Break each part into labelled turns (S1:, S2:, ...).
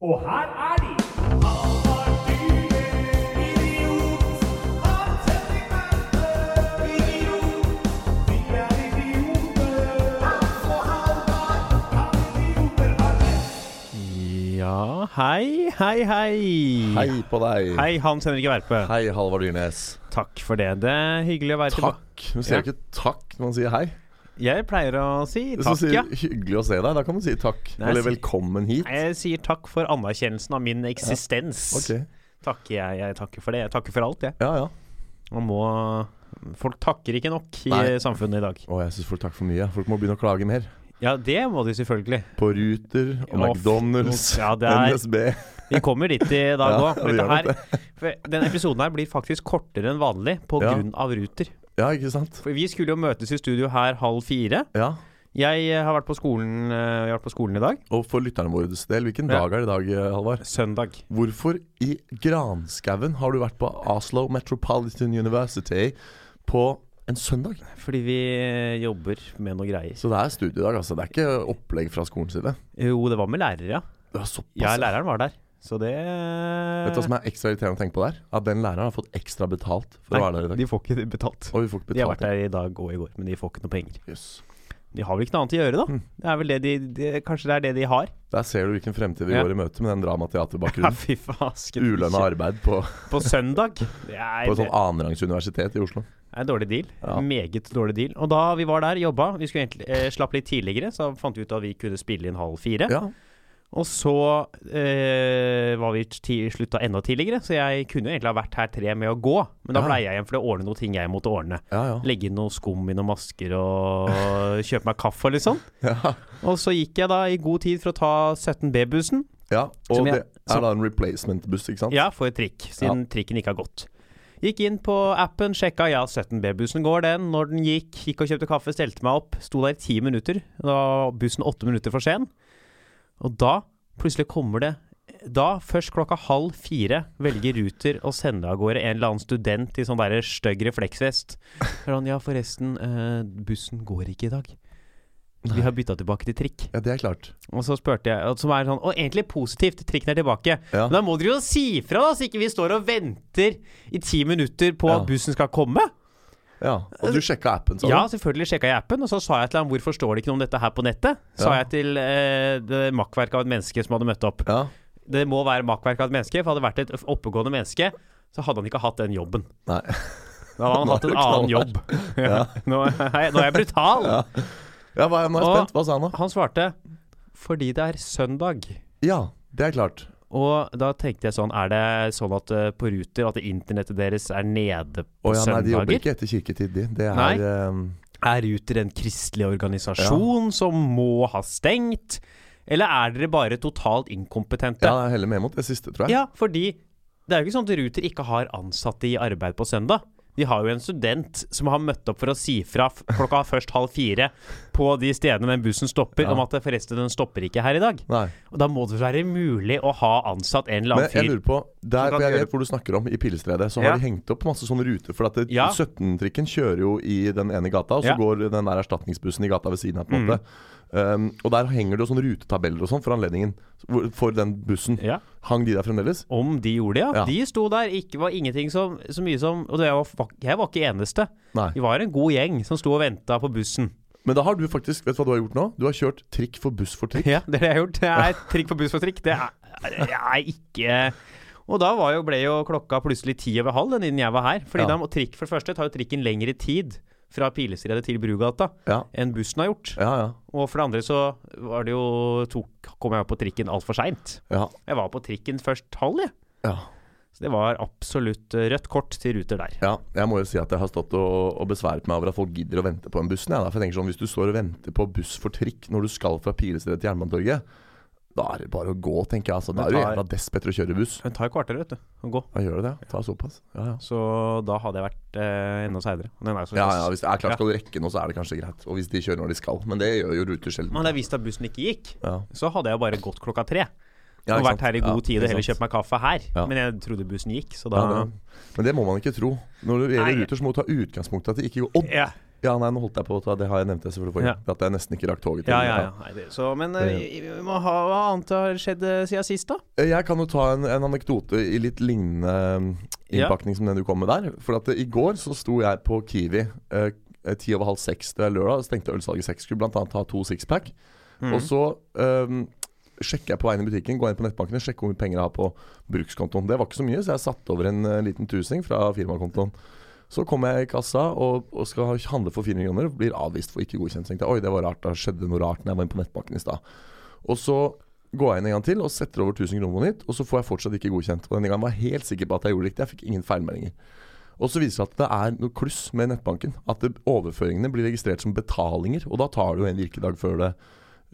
S1: Og her er de!
S2: Ja, hei, hei, hei.
S3: Hei på deg.
S2: Hei, Hans Henrik Verpe.
S3: Hei, Halvard Dyrnes.
S2: Takk for det. Det er hyggelig å være tilbake.
S3: Takk. Man sier
S2: Ja.
S3: ikke takk når man sier hei.
S2: Jeg pleier å si
S3: Hvis
S2: takk,
S3: du sier
S2: ja.
S3: 'hyggelig å se deg', da kan man si takk.
S2: Nei,
S3: Eller
S2: si-
S3: 'velkommen hit'.
S2: Jeg sier takk for anerkjennelsen av min eksistens.
S3: Ok.
S2: Takker jeg, jeg takker for det. Jeg takker for alt, jeg.
S3: Ja, ja.
S2: Man må Folk takker ikke nok i
S3: Nei.
S2: samfunnet i dag.
S3: Å, jeg syns folk takker for mye. Folk må begynne å klage mer.
S2: Ja, det må de selvfølgelig.
S3: På Ruter og
S2: Ja, f-
S3: McDonald's,
S2: Ja, det er-
S3: NSB.
S2: Vi kommer dit i dag
S3: Ja,
S2: òg.
S3: vi gjør nok
S2: denne episoden her blir faktisk kortere enn vanlig
S3: Ja.
S2: pga. Ruter.
S3: Ja, ikke sant?
S2: For vi skulle jo møtes i studio her halv fire.
S3: Ja.
S2: Jeg eh, har vært på skolen, eh, jeg har vært på skolen i dag.
S3: Og for lytterne våres del, hvilken
S2: Ja.
S3: dag er det i dag, eh, Halvard?
S2: Søndag.
S3: Hvorfor i granskauen har du vært på Oslo Metropolitan University på en søndag?
S2: Fordi vi eh, jobber med noe greier.
S3: Så det er studiedag, altså. Det er ikke opplegg fra skolens side.
S2: Jo, det var med lærere, ja.
S3: Det er såpass.
S2: Ja, læreren var der. Så det
S3: Vet du hva som er ekstra irriterende å tenke på der? At den læreren har fått ekstra betalt for
S2: eh, Nei,
S3: å være der i dag.
S2: De får ikke det betalt.
S3: Og vi får ikke
S2: De har vært
S3: betalt.
S2: der i dag og i går, men de får ikke noe penger.
S3: Jøss.
S2: De har vel ikke noe annet å gjøre, da. Det er vel det de, de Kanskje det er det de har.
S3: Der ser du hvilken fremtid vi
S2: Ja.
S3: går i møte med den
S2: Ja,
S3: dramateaterbakgrunnen.
S2: fy fasken.
S3: Ulønna arbeid på,
S2: På søndag. Det
S3: på
S2: er,
S3: et sånt
S2: det
S3: annenrangs universitet i Oslo.
S2: er en dårlig deal.
S3: Ja.
S2: Meget dårlig deal. Og da vi var der, jobba Vi skulle egentlig eh, slappe litt tidligere, så fant vi ut at vi kunne spille inn halv fire.
S3: Ja.
S2: Og så eh, var vi ti slutta enda tidligere, så jeg kunne jo egentlig ha vært her tre med å gå. Men da
S3: Ja.
S2: blei jeg igjen for det å ordne noen ting jeg måtte ordne.
S3: Ja, ja.
S2: Legge inn noe skum i noen masker og kjøpe meg kaffe og litt sånn.
S3: ja.
S2: Og så gikk jeg da i god tid for å ta 17B-bussen.
S3: ja.
S2: Som
S3: Og
S2: jeg-
S3: det
S2: som-
S3: er da en replacement-buss, ikke sant?
S2: Ja, for trikk, siden trikken ikke har gått. Gikk inn på appen, sjekka ja, 17B-bussen går den. Når den gikk, gikk og kjøpte kaffe, stelte meg opp. Sto der i ti minutter. Da var bussen åtte minutter for sen. Og da plutselig kommer det Da, først klokka halv fire, velger Ruter å sende av gårde en eller annen student i sånn derre stygg refleksvest. Så er han, ja, forresten, eh, bussen går ikke i dag. Vi har bytta tilbake til trikk.
S3: Ja, det er klart.
S2: Og så spurte jeg, og som er sånn, og egentlig positivt, trikken er tilbake.
S3: Ja.
S2: Men da må dere jo si fra, da, så ikke vi står og venter i ti minutter på
S3: Ja.
S2: at bussen skal komme.
S3: Ja. Og du sjekka appen, sa du?
S2: Ja, selvfølgelig sjekka jeg appen, og så sa jeg til ham hvorfor står det ikke noe om dette her på nettet? Sa
S3: Ja.
S2: jeg til eh, det makkverket av et menneske som hadde møtt opp.
S3: Ja.
S2: Det må være makkverket av et menneske, for hadde det vært et oppegående menneske, så hadde han ikke hatt den jobben.
S3: Nei.
S2: Da hadde han
S3: Nå
S2: hatt
S3: er
S2: en
S3: du knallhard.
S2: annen jobb. Ja. Nå, er jeg, nå er jeg brutal.
S3: Ja. Ja, hva, nå er jeg
S2: Og-
S3: spent. Hva sa han da?
S2: Han svarte fordi det er søndag.
S3: Ja, det er klart.
S2: Og da tenkte jeg sånn, er det sånn at eh, på Ruter at internettet deres er nede
S3: Å
S2: på
S3: ja, nei, de jobber
S2: søndager?
S3: ikke etter kirketid, de. Det
S2: Nei.
S3: er ehm,
S2: Er Ruter en kristelig organisasjon som må ha stengt? Eller er dere bare totalt
S3: Ja,
S2: inkompetente?
S3: jeg er heller med mot det siste, tror jeg.
S2: Ja, fordi det er jo ikke sånn at Ruter ikke har ansatte i arbeid på søndag. De har jo en student som har møtt opp for å si fra f- klokka først halv fire på de stedene den bussen stopper,
S3: Ja.
S2: om at forresten, den stopper ikke her i dag.
S3: Nei.
S2: Og da må det være mulig å ha ansatt en eller
S3: Men
S2: annen
S3: jeg
S2: fyr.
S3: lurer på Der
S2: kan
S3: for jeg
S2: gjøre-
S3: vet hvor du snakker om, i Pilestredet, så
S2: Ja.
S3: har de hengt opp masse sånne ruter. For at det-
S2: Ja.
S3: 17-trikken kjører jo i den ene gata, og så
S2: Ja. Mm.
S3: går den der erstatningsbussen i gata ved siden av. på en måte um, Og der henger det jo sånne rutetabeller og sånn for anledningen. hvor- For den bussen.
S2: Ja.
S3: Hang de der fremdeles?
S2: Om de gjorde det, ja.
S3: Ja.
S2: De sto der, ikke var ingenting som, så mye som Og det var, jeg var ikke eneste.
S3: Nei.
S2: Vi var en god gjeng som sto og venta på bussen.
S3: Men da har du faktisk Vet du hva du har gjort nå? Du har kjørt trikk for buss for trikk.
S2: Ja, det har jeg gjort. Det er trikk for buss for trikk. Det er, det er ikke Og da var jo, ble jo klokka plutselig ti over halv den innen jeg var her. Fordi
S3: Ja.
S2: da må trikk for det første tar jo trikken lengre tid fra Pilestredet til Brugata
S3: Ja,
S2: enn bussen har gjort.
S3: ja. ja.
S2: Og for det andre så var det jo tok, kom jeg på trikken altfor seint.
S3: ja.
S2: Jeg var på trikken først halv, jeg.
S3: ja.
S2: Så det var absolutt eh, rødt kort til Ruter der.
S3: Ja, jeg må jo si at jeg har stått og, og besværet meg over at folk gidder å vente på den bussen. Ja, da. For jeg tenker sånn, Hvis du står og venter på buss for trikk når du skal fra Pilestredet til Jernbanetorget, da er det bare å gå, tenker jeg. Altså,
S2: Det
S3: da er du
S2: tar-
S3: jævla desp etter å kjøre buss.
S2: Hun tar jo kvarter, vet du, å gå.
S3: Da gjør du det. ja. Ta såpass. Ja, ja.
S2: Så da hadde jeg vært eh, enda seinere.
S3: Ja, ja, hvis det er klart skal du rekke noe, så er det kanskje greit. Og hvis de kjører når de skal. Men det gjør jo Ruter sjelden.
S2: Men hadde jeg visst at bussen ikke gikk,
S3: Ja.
S2: så hadde jeg bare gått klokka tre.
S3: Ja,
S2: og
S3: ikke sant.
S2: vært her i god
S3: Ja,
S2: tid
S3: ikke
S2: og heller
S3: sant.
S2: kjøpt meg kaffe her.
S3: Ja.
S2: Men jeg trodde bussen gikk, så da
S3: Ja, det. Men det må man ikke tro. Når det
S2: Nei.
S3: gjelder Ruter, så må du ta utgangspunkt i at det ikke går. Odd!
S2: Ja.
S3: Ja, nei, nå holdt jeg på å ta Det har jeg nevnt jeg selvfølgelig forrige
S2: Ja.
S3: gang, At jeg nesten ikke rakk toget til.
S2: Ja, ja, ja. Nei, det, så, men eh, vi- vi må ha, hva annet har skjedd eh, siden sist, da?
S3: Eh, Jeg kan jo ta en, en anekdote i litt lignende mm,
S2: Ja.
S3: innpakning som den du kom med der. For at eh, i går så sto jeg på Kiwi eh, eh, ti over halv seks det er lørdag. Så tenkte jeg ølsalget seks skulle blant annet ha to sixpack. Og så um, sjekker jeg på veien i butikken, går inn på nettbankene, sjekker hvor mye penger jeg har på brukskontoen. Det var ikke så mye, så jeg satte over en eh, liten tusing fra firmakontoen. Så kommer jeg i kassa og, og skal handle for 400 kroner, blir avvist for ikke godkjent. Så tenkte jeg oi, det var rart, da skjedde noe rart når jeg var inne på nettbanken i stad. Og så går jeg inn en gang til og setter over 1000 kroner på nytt, og så får jeg fortsatt ikke godkjent. Og denne gangen var jeg helt sikker på at jeg gjorde det riktig, jeg fikk ingen feilmeldinger. Og så viser det seg at det er noe kluss med nettbanken. At det, overføringene blir registrert som betalinger, og da tar det jo en virkedag før det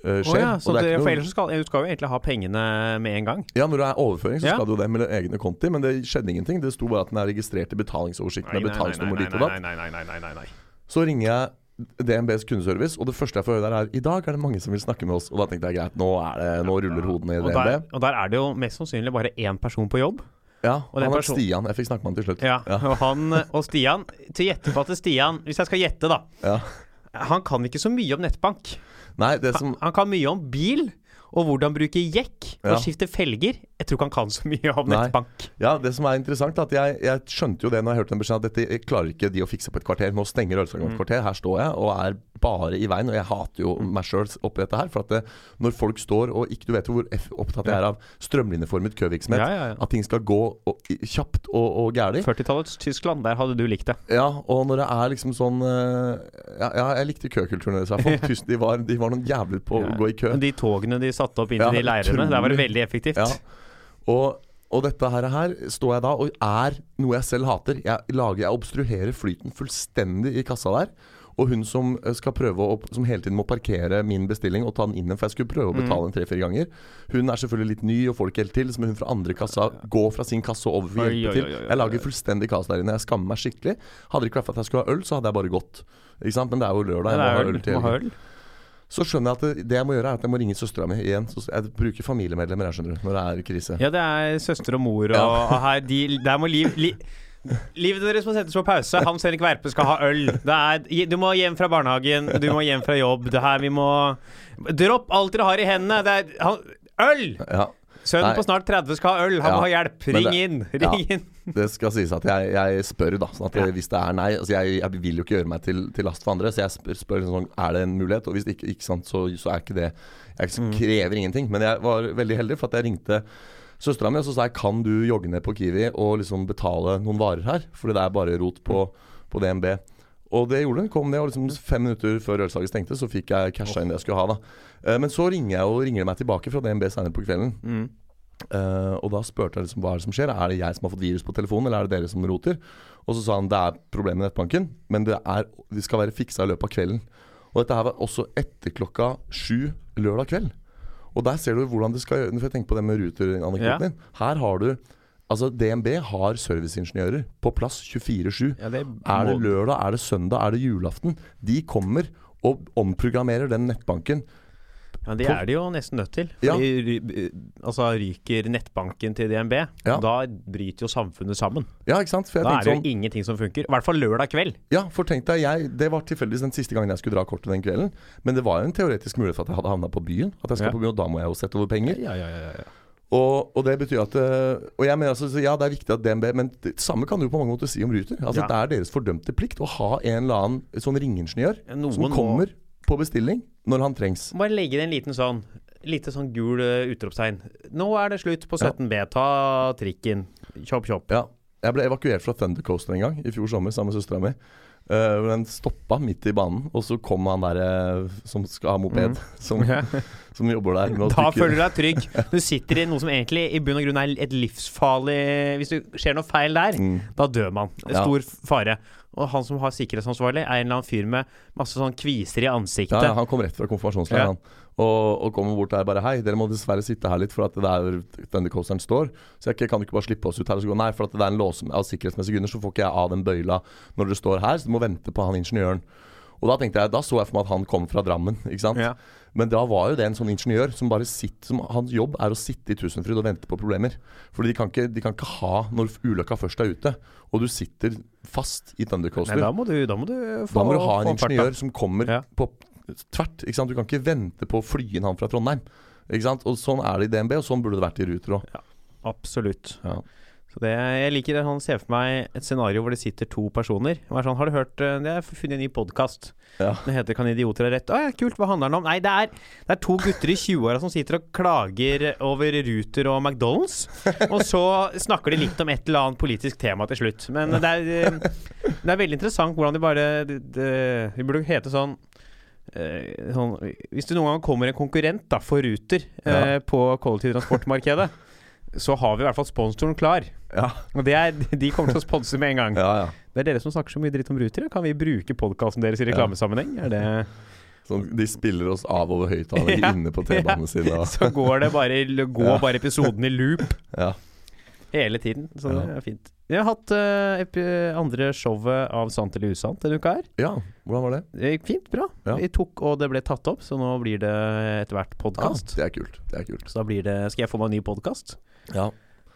S3: eh,
S2: Å
S3: skjer.
S2: ja,
S3: Og
S2: så
S3: det er
S2: det,
S3: ikke noe-
S2: for ellers så skal du skal jo egentlig ha pengene med en gang.
S3: ja, når det er overføring, så
S2: Ja.
S3: skal det jo det med egne konti, men det skjedde ingenting. Det sto bare at den er registrert i betalingsoversikten med betalingsnummer dit og datt.
S2: nei, nei, nei, nei, nei, nei.
S3: Så ringer jeg DNBs kundeservice, og det første jeg får høre der er I dag er det mange som vil snakke med oss. Og da tenkte jeg greit, nå, er det, nå ruller hodene i
S2: Og der,
S3: DNB.
S2: og der er det jo mest sannsynlig bare én person på jobb.
S3: Ja,
S2: og den
S3: han er
S2: person-
S3: Stian. Jeg fikk snakke med han til slutt.
S2: Ja,
S3: Ja.
S2: Og han eh, og Stian Til gjette på at Stian Hvis jeg skal gjette, da.
S3: Ja.
S2: Han kan ikke så mye om nettbank.
S3: Nei, det som
S2: Han, han kan mye om bil. Og hvordan bruke jekk og
S3: Ja.
S2: skifte felger. Jeg tror ikke han kan så mye om
S3: Nei.
S2: nettbank.
S3: Ja, det som er interessant er at jeg, jeg skjønte jo det når jeg hørte den beskjeden at dette klarer ikke de å fikse på et kvarter. Nå stenger ølsalgen
S2: Mm.
S3: om et kvarter. Her står jeg og er bare i veien. Og jeg hater jo meg sjøl oppi dette her. For at det, når folk står og ikke Du vet jo hvor eff- opptatt jeg er av strømlinjeformet køvirksomhet.
S2: Ja, ja, ja.
S3: At ting skal gå og, i- kjapt og, og gærlig.
S2: 40-tallets Tyskland, der hadde du likt det.
S3: Ja, og når det er liksom sånn eh, Ja, ja jeg likte køkulturen deres. i hvert fall. Tusen- De, var- de var noen jævler på å gå i kø.
S2: Men De togene de satte opp inn
S3: Ja,
S2: til de leirene, der var det
S3: utrolig.
S2: veldig effektivt.
S3: Ja. Og, og dette her, her står jeg da og er noe jeg selv hater. Jeg, lager, jeg obstruerer flyten fullstendig i kassa der. Og hun som eh, skal prøve å, som hele tiden må parkere min bestilling og ta den inn igjen, for jeg skulle
S2: Mm.
S3: prøve å betale den tre-fire ganger. Hun er selvfølgelig litt ny og får det ikke helt til, så må hun fra andre kassa gå fra sin kasse og over for å
S2: Oi, oi, oi,
S3: hjelpe
S2: oi,
S3: til.
S2: oi.
S3: Jeg lager fullstendig kaos der inne. Jeg skammer meg skikkelig. Hadde det ikke vært for at jeg skulle ha øl, så hadde jeg bare gått. Ikke sant? Men det er jo lørdag.
S2: Det
S3: Jeg må
S2: er
S3: ha
S2: øl.
S3: øl til.
S2: må ha øl.
S3: Så skjønner jeg at det, det jeg må gjøre, er at jeg må ringe søstera mi igjen. Så jeg bruker familiemedlemmer her, skjønner du, når det er krise.
S2: Ja, det er søster og mor og,
S3: Ja.
S2: og her de, Der må liv li, Livet deres må settes på pause. Hans Henrik Verpe skal ha øl. Det er, du må hjem fra barnehagen, du må hjem fra jobb. Det her, vi må Dropp alt dere har i hendene. Det er han, Øl!
S3: Ja,
S2: Sønnen
S3: Nei.
S2: på snart 30 skal ha øl. Han
S3: Ja,
S2: må ha hjelp.
S3: men
S2: Ring
S3: det-
S2: inn.
S3: ja.
S2: Ring inn.
S3: Det skal sies at jeg, jeg spør, da. Sånn at
S2: Ja.
S3: Hvis det er nei altså jeg, jeg vil jo ikke gjøre meg til, til last for andre, så jeg spør, spør liksom sånn, er det en mulighet. Og hvis det ikke, ikke sant, så, så er ikke det Jeg krever ingenting. Men jeg var veldig heldig, for at jeg ringte søstera mi og så sa jeg, kan du jogge ned på Kiwi og liksom betale noen varer her, for det er bare rot på, på DNB. Og det gjorde hun. Kom ned, og liksom fem minutter før ølsalget stengte, så fikk jeg casha inn det jeg skulle ha. da Eh, Men så ringer jeg og ringer de meg tilbake fra DNB senere på kvelden. Eh, og da spurte jeg liksom, hva er det som skjer. Er det jeg som har fått virus på telefonen, eller er det dere som roter? Og så sa han det er problemer med nettbanken, men det, er, det skal være fiksa i løpet av kvelden. Og dette her var også etter klokka sju lørdag kveld. Og der ser du hvordan det skal gjøres. For jeg tenker på det med ruter-anekdoten
S2: Ja.
S3: din. Her har du Altså, DNB har serviceingeniører på plass 24-7.
S2: Ja, det
S3: Er det
S2: må-
S3: lørdag, er det søndag, er det julaften? De kommer og omprogrammerer den nettbanken.
S2: Ja, det er de jo nesten nødt til.
S3: Ja.
S2: Fordi, ry- altså, ryker nettbanken til DNB,
S3: Ja.
S2: da bryter jo samfunnet sammen.
S3: Ja, ikke sant? For jeg
S2: Da
S3: tenkte
S2: er det
S3: sånn-
S2: jo ingenting som funker. I hvert fall lørdag kveld.
S3: Ja, for tenk deg, jeg, Det var tilfeldigvis den siste gangen jeg skulle dra kortet den kvelden. Men det var jo en teoretisk mulighet for at jeg hadde havna på byen. At jeg skal
S2: Ja.
S3: på byen, Og da må jeg jo sette over penger.
S2: Ja, ja, ja, ja.
S3: Og, og det betyr at øh, Og jeg mener altså, så ja, det er viktig at DNB Men det samme kan du på mange måter si om Ruter. Altså,
S2: Ja.
S3: Det er deres fordømte plikt å ha en eller annen sånn ringingeniør
S2: Noen
S3: som
S2: må-
S3: kommer på bestilling når han trengs.
S2: Bare legge det en liten sånn Lite sånn gul eh, utropstegn. Nå er det slutt på
S3: Ja.
S2: 17B. Ta trikken. Kjopp, kjopp.
S3: Ja. Jeg ble evakuert fra Thundercoaster en gang i fjor sommer sammen med søstera mi. Eh, hvor den stoppa midt i banen, og så kom han der eh, som skal ha moped, som, som jobber der. Med
S2: Mm.
S3: å
S2: Da
S3: trykke-
S2: føler du deg trygg. Du sitter i noe som egentlig i bunn og grunn er et livsfarlig Hvis det skjer noe feil der,
S3: Mm.
S2: da dør man. En
S3: Ja.
S2: stor fare. Og han som har sikkerhetsansvarlig, er en eller annen fyr med masse sånn kviser i ansiktet.
S3: Ja, ja, han kom rett fra konfirmasjonsleiren.
S2: Ja.
S3: han. Og, og kommer bort der bare Hei, dere må dessverre sitte her litt, for at det er Thundercoasteren står. Så jeg kan ikke bare slippe oss ut her. Og så går han, Nei, for at det er en lås av sikkerhetsmessige grunner, så får ikke jeg av den bøyla når dere står her, så du må vente på han ingeniøren. Og da tenkte jeg, da så jeg for meg at han kom fra Drammen. ikke sant?
S2: Ja.
S3: Men da var jo det en sånn ingeniør som bare sitter som, Hans jobb er å sitte i Tusenfryd og vente på problemer. Fordi de kan ikke, de kan ikke ha når ulykka først er ute, og du sitter fast
S2: Nei,
S3: i Thundercoaster.
S2: da må du, da må du få
S3: Da må du ha en
S2: få opp farta.
S3: ingeniør som kommer
S2: Ja.
S3: på tvert. Ikke sant? Du kan ikke vente på å fly inn han fra Trondheim. Ikke sant? Og Sånn er det i DNB, og sånn burde det vært i Ruter òg.
S2: Absolutt.
S3: Ja.
S2: Så det, jeg liker det. Han ser for meg et scenario hvor det sitter to personer. Og er sånn, har du hørt eh, Det har jeg funnet en ny podkast.
S3: Ja.
S2: Den heter 'Kan idioter ha rett'? Å ja, kult. Hva handler den om? Nei, det er, det er to gutter i 20-åra som sitter og klager over Ruter og McDonald's. Og så snakker de litt om et eller annet politisk tema til slutt. Men det er, eh, det er veldig interessant hvordan de bare det- det- Vi burde hete sånn eh, Sånn, hvis det noen gang kommer en konkurrent da, for Ruter eh, på kollektivtransportmarkedet, så har vi i hvert fall sponsoren klar.
S3: Ja.
S2: Og det er, De kommer til å sponse med en gang.
S3: ja, ja.
S2: Det er dere som snakker så mye dritt om Ruter. ja. Kan vi bruke podkasten deres i reklamesammenheng? Er det
S3: Sånn, de spiller oss av over høyttalere
S2: Ja.
S3: inne på T-banene sine. og-
S2: Så går det bare, går
S3: Ja.
S2: bare episoden i loop
S3: Ja.
S2: hele tiden. Så
S3: Ja.
S2: det er fint. Vi har hatt eh, epi andre showet av Sant eller usant denne uka her.
S3: ja, hvordan var det?
S2: Det gikk fint, bra.
S3: Ja.
S2: Vi tok og det ble tatt opp, så nå blir det etter hvert
S3: Ja,
S2: podkast.
S3: det er kult. Det er kult.
S2: Så da blir det Skal jeg få meg en ny podkast?
S3: Ja.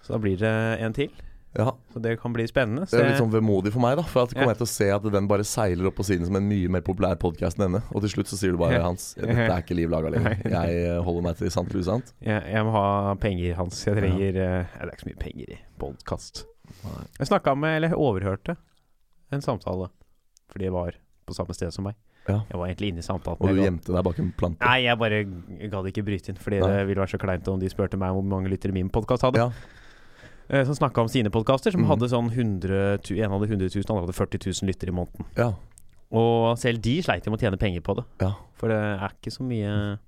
S2: Så da blir det en til.
S3: ja.
S2: Så det kan bli spennende.
S3: Det
S2: Se-
S3: er litt sånn vemodig for meg, da. For at kommer
S2: Ja.
S3: jeg til å se at den bare seiler opp på siden som en mye mer populær podkast enn denne. Og til slutt så sier du bare,
S2: Ja.
S3: Hans, dette er ikke liv laga lenger. Jeg eh, holder meg til sant eller usant.
S2: Jeg, jeg må ha penger, Hans. Jeg trenger eh, Det er ikke så mye penger i podkast.
S3: Nei.
S2: Jeg snakka med, eller overhørte, en samtale. Fordi jeg var på samme sted som meg.
S3: Ja.
S2: Jeg var egentlig inne i samtalen.
S3: Og
S2: men
S3: du
S2: jeg gadd-
S3: gjemte deg bak en plante.
S2: Nei, jeg bare gadd ikke bryte inn, fordi
S3: Nei.
S2: det ville være så kleint om de spurte meg hvor mange lyttere min podkast hadde.
S3: Ja.
S2: Eh, Som snakka om sine podkaster, som
S3: Mhm.
S2: hadde sånn 100, tu- en hadde 100 000, andre hadde 40 000 lyttere i måneden.
S3: ja.
S2: Og selv de sleit jo med å tjene penger på det.
S3: Ja.
S2: For det er ikke så mye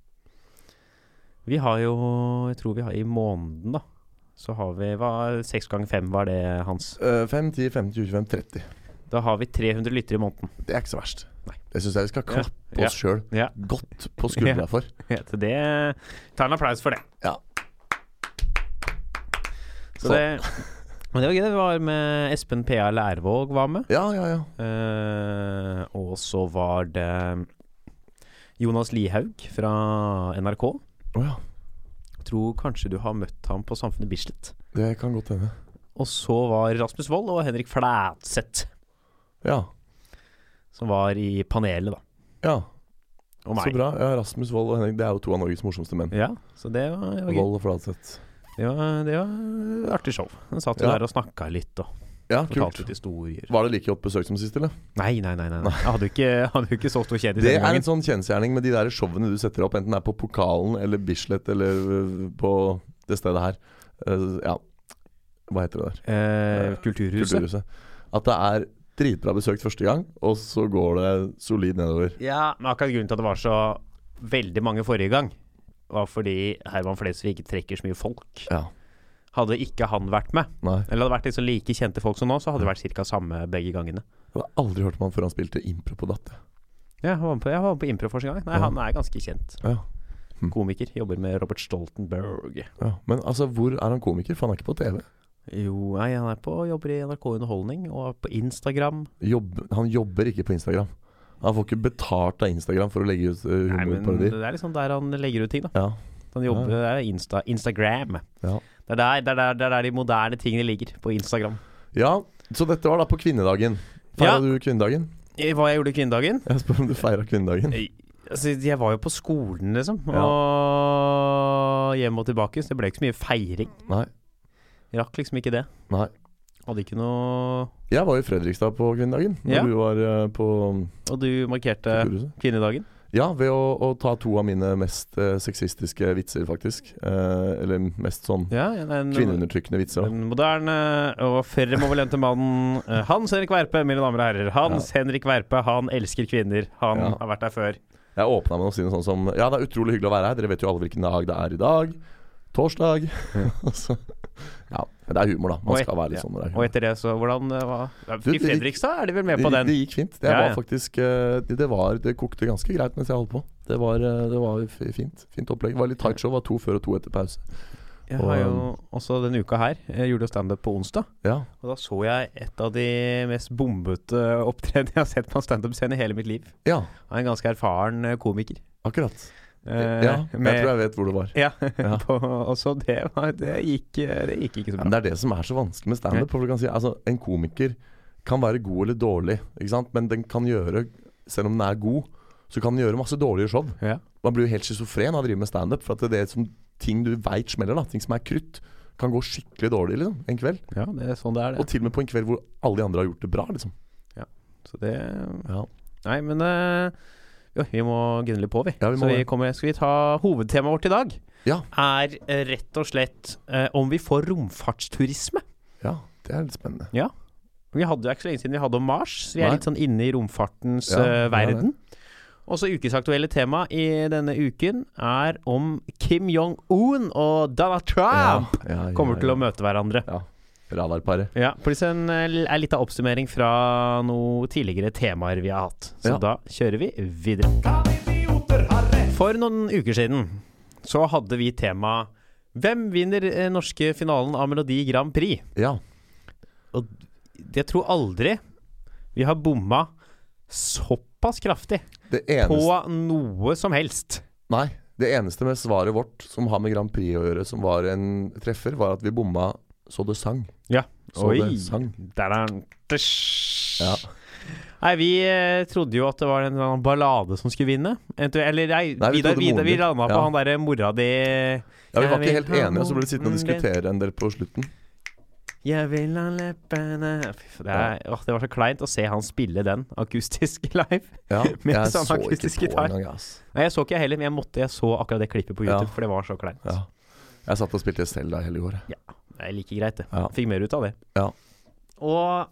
S2: Vi har jo Jeg tror vi har i måneden, da. Så har vi hva, Seks ganger fem var det, Hans.
S3: Eh, 5, 10, 15, 20, 25, 30.
S2: Da har vi 300 lyttere i måneden.
S3: Det er ikke så verst.
S2: Nei.
S3: Det syns jeg vi skal
S2: Ja.
S3: klappe oss sjøl
S2: Ja.
S3: godt på skuldra
S2: Ja.
S3: for.
S2: Så det Ta en applaus for det.
S3: Ja.
S2: Så det Men det var gøy. Det var med Espen P.A. Lærvåg var med.
S3: Ja, ja, ja.
S2: Eh, og så var det Jonas Lihaug fra NRK.
S3: Å ja.
S2: Tror kanskje du har møtt ham på Samfunnet Bislett.
S3: Det kan godt hende.
S2: Og så var Rasmus Wold og Henrik Flætseth,
S3: Ja.
S2: som var i panelet, da.
S3: ja.
S2: Og
S3: Så
S2: meg.
S3: bra. Ja, Rasmus Wold og Henrik det er jo to av Norges morsomste menn.
S2: Ja, så det var, det var gøy.
S3: Wold og Fladseth.
S2: Det var, det var artig show. Den satt jo
S3: Ja.
S2: der og snakka litt og
S3: Ja,
S2: fortalte
S3: kult.
S2: litt historier.
S3: Var det like godt besøkt som sist, eller?
S2: Nei, nei, nei. nei. nei. Jeg hadde jo ikke, hadde jo ikke så stor kjendis
S3: Det
S2: denne
S3: er en
S2: gangen.
S3: sånn kjensgjerning med de der showene du setter opp, enten det er på Pokalen eller Bislett eller øh, på det stedet her. Eh, ja. Hva heter det der?
S2: Eh, kulturhuset.
S3: Kulturhuset. At det er dritbra besøkt første gang, og så går det solid nedover.
S2: Ja, men akkurat grunnen til at det var så veldig mange forrige gang, var fordi Herman Flesvig ikke trekker så mye folk.
S3: Ja.
S2: Hadde ikke han vært med,
S3: Nei.
S2: eller hadde vært liksom like kjente folk som nå, så hadde det vært ca. samme begge gangene.
S3: Jeg har aldri hørt om han før han spilte impro på Datt.
S2: Ja, jeg var med på, jeg var med på impro første gang. Nei,
S3: Ja.
S2: han er ganske kjent.
S3: Ja. Hm.
S2: Komiker. Jobber med Robert Stoltenberg.
S3: Ja. Men altså, hvor er han komiker? For han er ikke på TV.
S2: Jo, nei, han er på, jobber i NRK Underholdning og er på Instagram.
S3: Jobb, han jobber ikke på Instagram. Han får ikke betalt av Instagram for å legge ut uh,
S2: Nei, men det
S3: humorparodier.
S2: er liksom der han legger ut ting, da.
S3: Ja.
S2: Han jobber, Det er Insta, Instagram.
S3: Ja.
S2: Det, er der, det, er der, det er der de moderne tingene ligger, på Instagram.
S3: ja, så dette var da på kvinnedagen.
S2: Ja.
S3: Feira du kvinnedagen?
S2: Eh, Hva jeg gjorde i kvinnedagen?
S3: Jeg spør om du feira kvinnedagen.
S2: Eh, Altså, jeg var jo på skolen, liksom.
S3: Ja.
S2: Og hjem og tilbake. Så det ble ikke så mye feiring.
S3: Nei.
S2: Rakk liksom ikke det.
S3: Nei.
S2: Hadde ikke noe
S3: Jeg var i Fredrikstad på kvinnedagen, da
S2: Ja.
S3: du var uh, på
S2: Og du markerte
S3: Kulturhuset.
S2: kvinnedagen?
S3: Ja, ved å, å ta to av mine mest eh, sexistiske vitser, faktisk. Eh, eller mest sånn
S2: Ja, ja, den,
S3: kvinneundertrykkende vitser. da.
S2: Den moderne og fremoverlente mannen eh, Hans Henrik Verpe, mine damer og herrer. Hans Henrik Verpe, han elsker kvinner. Han
S3: Ja.
S2: har vært der før.
S3: Jeg åpna med å si noe sånn som Ja, det er utrolig hyggelig å være her. Dere vet jo alle hvilken dag det er i dag. Torsdag. Og så- ja, men det er humor, da. Man
S2: Og et-
S3: skal være litt
S2: ja.
S3: sånn når det er
S2: Og
S3: humor.
S2: etter det, så hvordan eh, hva?
S3: Du,
S2: I
S3: det gikk-
S2: Fredrikstad er de vel med på
S3: Det,
S2: den?
S3: det gikk fint. Det
S2: Ja, ja.
S3: var faktisk eh, det, det, var, det kokte ganske greit mens jeg holdt på. Det var, eh, det var f- fint. Fint opplegg. Det var litt tight show. Det Var to før og to etter pause.
S2: Jeg
S3: Og,
S2: har jo også denne uka her Jeg gjorde jo standup på onsdag.
S3: Ja.
S2: Og da så jeg et av de mest bombete opptredenene jeg har sett på en standup-scene i hele mitt liv.
S3: ja,
S2: Av en ganske erfaren eh, komiker.
S3: akkurat.
S2: Eh,
S3: ja, jeg
S2: med-
S3: tror jeg vet hvor det var.
S2: Ja,
S3: Ja.
S2: på, og så det, var, det, gikk, eh, det gikk ikke så bra.
S3: Men det er det som er så vanskelig med standup. for du kan Si, altså, en komiker kan være god eller dårlig, ikke sant? men den kan gjøre, selv om den er god, så kan den gjøre masse dårlige show.
S2: Ja.
S3: Man blir jo helt schizofren av å drive med standup. For at det er det som ting du veit smeller, da, ting som er krutt, kan gå skikkelig dårlig liksom, en kveld.
S2: ja, det er sånn det er,
S3: Og
S2: det.
S3: til og med på en kveld hvor alle de andre har gjort det bra. liksom.
S2: Så det
S3: Ja.
S2: Nei, men eh, jo, vi må gunne litt på, vi.
S3: Ja, vi må
S2: så vi
S3: det.
S2: kommer, skal vi ta hovedtemaet vårt i dag?
S3: Ja.
S2: Er eh, rett og slett eh, om vi får romfartsturisme.
S3: ja, det er litt spennende.
S2: Vi hadde jo ikke så lenge siden vi hadde om Mars, så vi er
S3: Nei.
S2: litt sånn inne i romfartens
S3: Ja,
S2: eh,
S3: vi er det.
S2: verden. Også ukesaktuelle tema i denne uken er om Kim Jong-un og Donald Trump
S3: ja, ja,
S2: Ah! kommer til
S3: ja.
S2: å møte hverandre.
S3: Radarparet.
S2: Ja, pluss en eh, er litt av oppsummering fra noen tidligere temaer vi har hatt. Så
S3: Ja.
S2: da kjører vi videre. For noen uker siden så hadde vi tema Hvem vinner eh, norske finalen av Melodi Grand Prix?
S3: Ja.
S2: Jeg tror aldri vi har bomma såpass kraftig
S3: Det
S2: på
S3: eneste,
S2: noe som helst.
S3: nei, det eneste med svaret vårt som har med Grand Prix å gjøre, som var en treffer, var at vi bomma så det sang.
S2: Ja.
S3: Så det sang.
S2: Der er den. Tysj.
S3: Ja.
S2: Nei, vi eh, trodde jo at det var en eller annen ballade som skulle vinne. Eventu- Eller nei,
S3: Nei, vi
S2: Vidar,
S3: trodde
S2: Vidar,
S3: moren
S2: vi
S3: din.
S2: landa på
S3: Ja.
S2: han derre mora di
S3: Ja, Vi
S2: Jeg
S3: var
S2: vil
S3: ikke helt
S2: ha
S3: enige, og så ble det sittende og
S2: moren din.
S3: diskutere en del på slutten.
S2: Jeg vil ha leppene Fy, faen, det, er, åh, det var så kleint å se han spille den akustisk live.
S3: Ja,
S2: Med
S3: jeg
S2: samme
S3: så ikke
S2: akustisk
S3: på
S2: gitar.
S3: engang. ass.
S2: Nei, jeg så ikke jeg heller, men jeg måtte Jeg så akkurat det klippet på
S3: Ja.
S2: YouTube, for det var så kleint.
S3: Ja. Jeg satt og spilte Selda hele i går. jeg.
S2: Det er like greit, det.
S3: Ja.
S2: Fikk mer ut av det.
S3: Ja.
S2: Og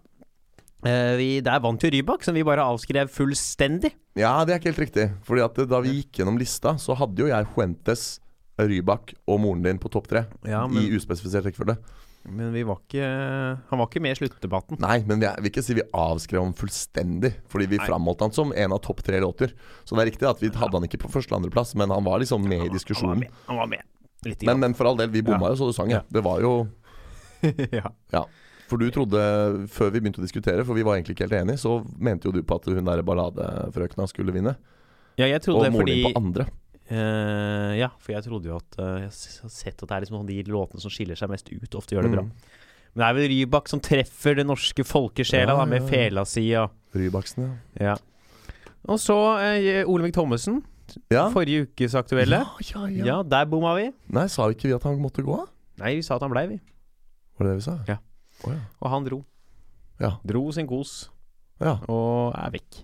S2: eh, vi, der vant jo Rybak, som vi bare avskrev fullstendig.
S3: Ja, det er ikke helt riktig. Fordi at eh, Da vi gikk gjennom lista, så hadde jo jeg Huentes, Rybak og moren din på topp tre.
S2: Ja, men-
S3: I uspesifisert rekkefølge.
S2: Men vi var ikke Han var ikke med i sluttdebatten.
S3: Nei, men vi er- vil ikke si vi avskrev ham fullstendig. Fordi vi framholdt han som en av topp tre låter. Så det er riktig at vi hadde han ikke på første- eller andreplass, men han var liksom med i
S2: Han var
S3: diskusjonen.
S2: med. Han var med. Litt
S3: Men, men for all del, vi bomma jo så det sang, ja. Det var jo
S2: ja.
S3: Ja. For du trodde, før vi begynte å diskutere, for vi var egentlig ikke helt enige, så mente jo du på at hun der balladefrøkna skulle vinne.
S2: ja, jeg
S3: Og
S2: trodde det
S3: moren
S2: fordi
S3: din på andre.
S2: Eh, Ja, for jeg trodde jo at eh, Jeg s- har sett at det er liksom sånn de låtene som skiller seg mest ut, ofte gjør det bra.
S3: Mm.
S2: Men det er vel Rybak som treffer den norske folkesjela
S3: Ja,
S2: da, med
S3: ja, ja.
S2: fela si og
S3: Rybaksen, ja.
S2: ja. Og så eh, Olemic Thommessen,
S3: Ja.
S2: forrige ukes aktuelle.
S3: ja, ja,
S2: Ja,
S3: ja.
S2: der bomma vi.
S3: Nei, sa ikke vi at han måtte gå? da?
S2: Nei, vi sa at han blei, vi.
S3: Var det det vi sa?
S2: Ja.
S3: Å, ja.
S2: Og han dro.
S3: Ja.
S2: Dro sin kos
S3: ja.
S2: og er vekk.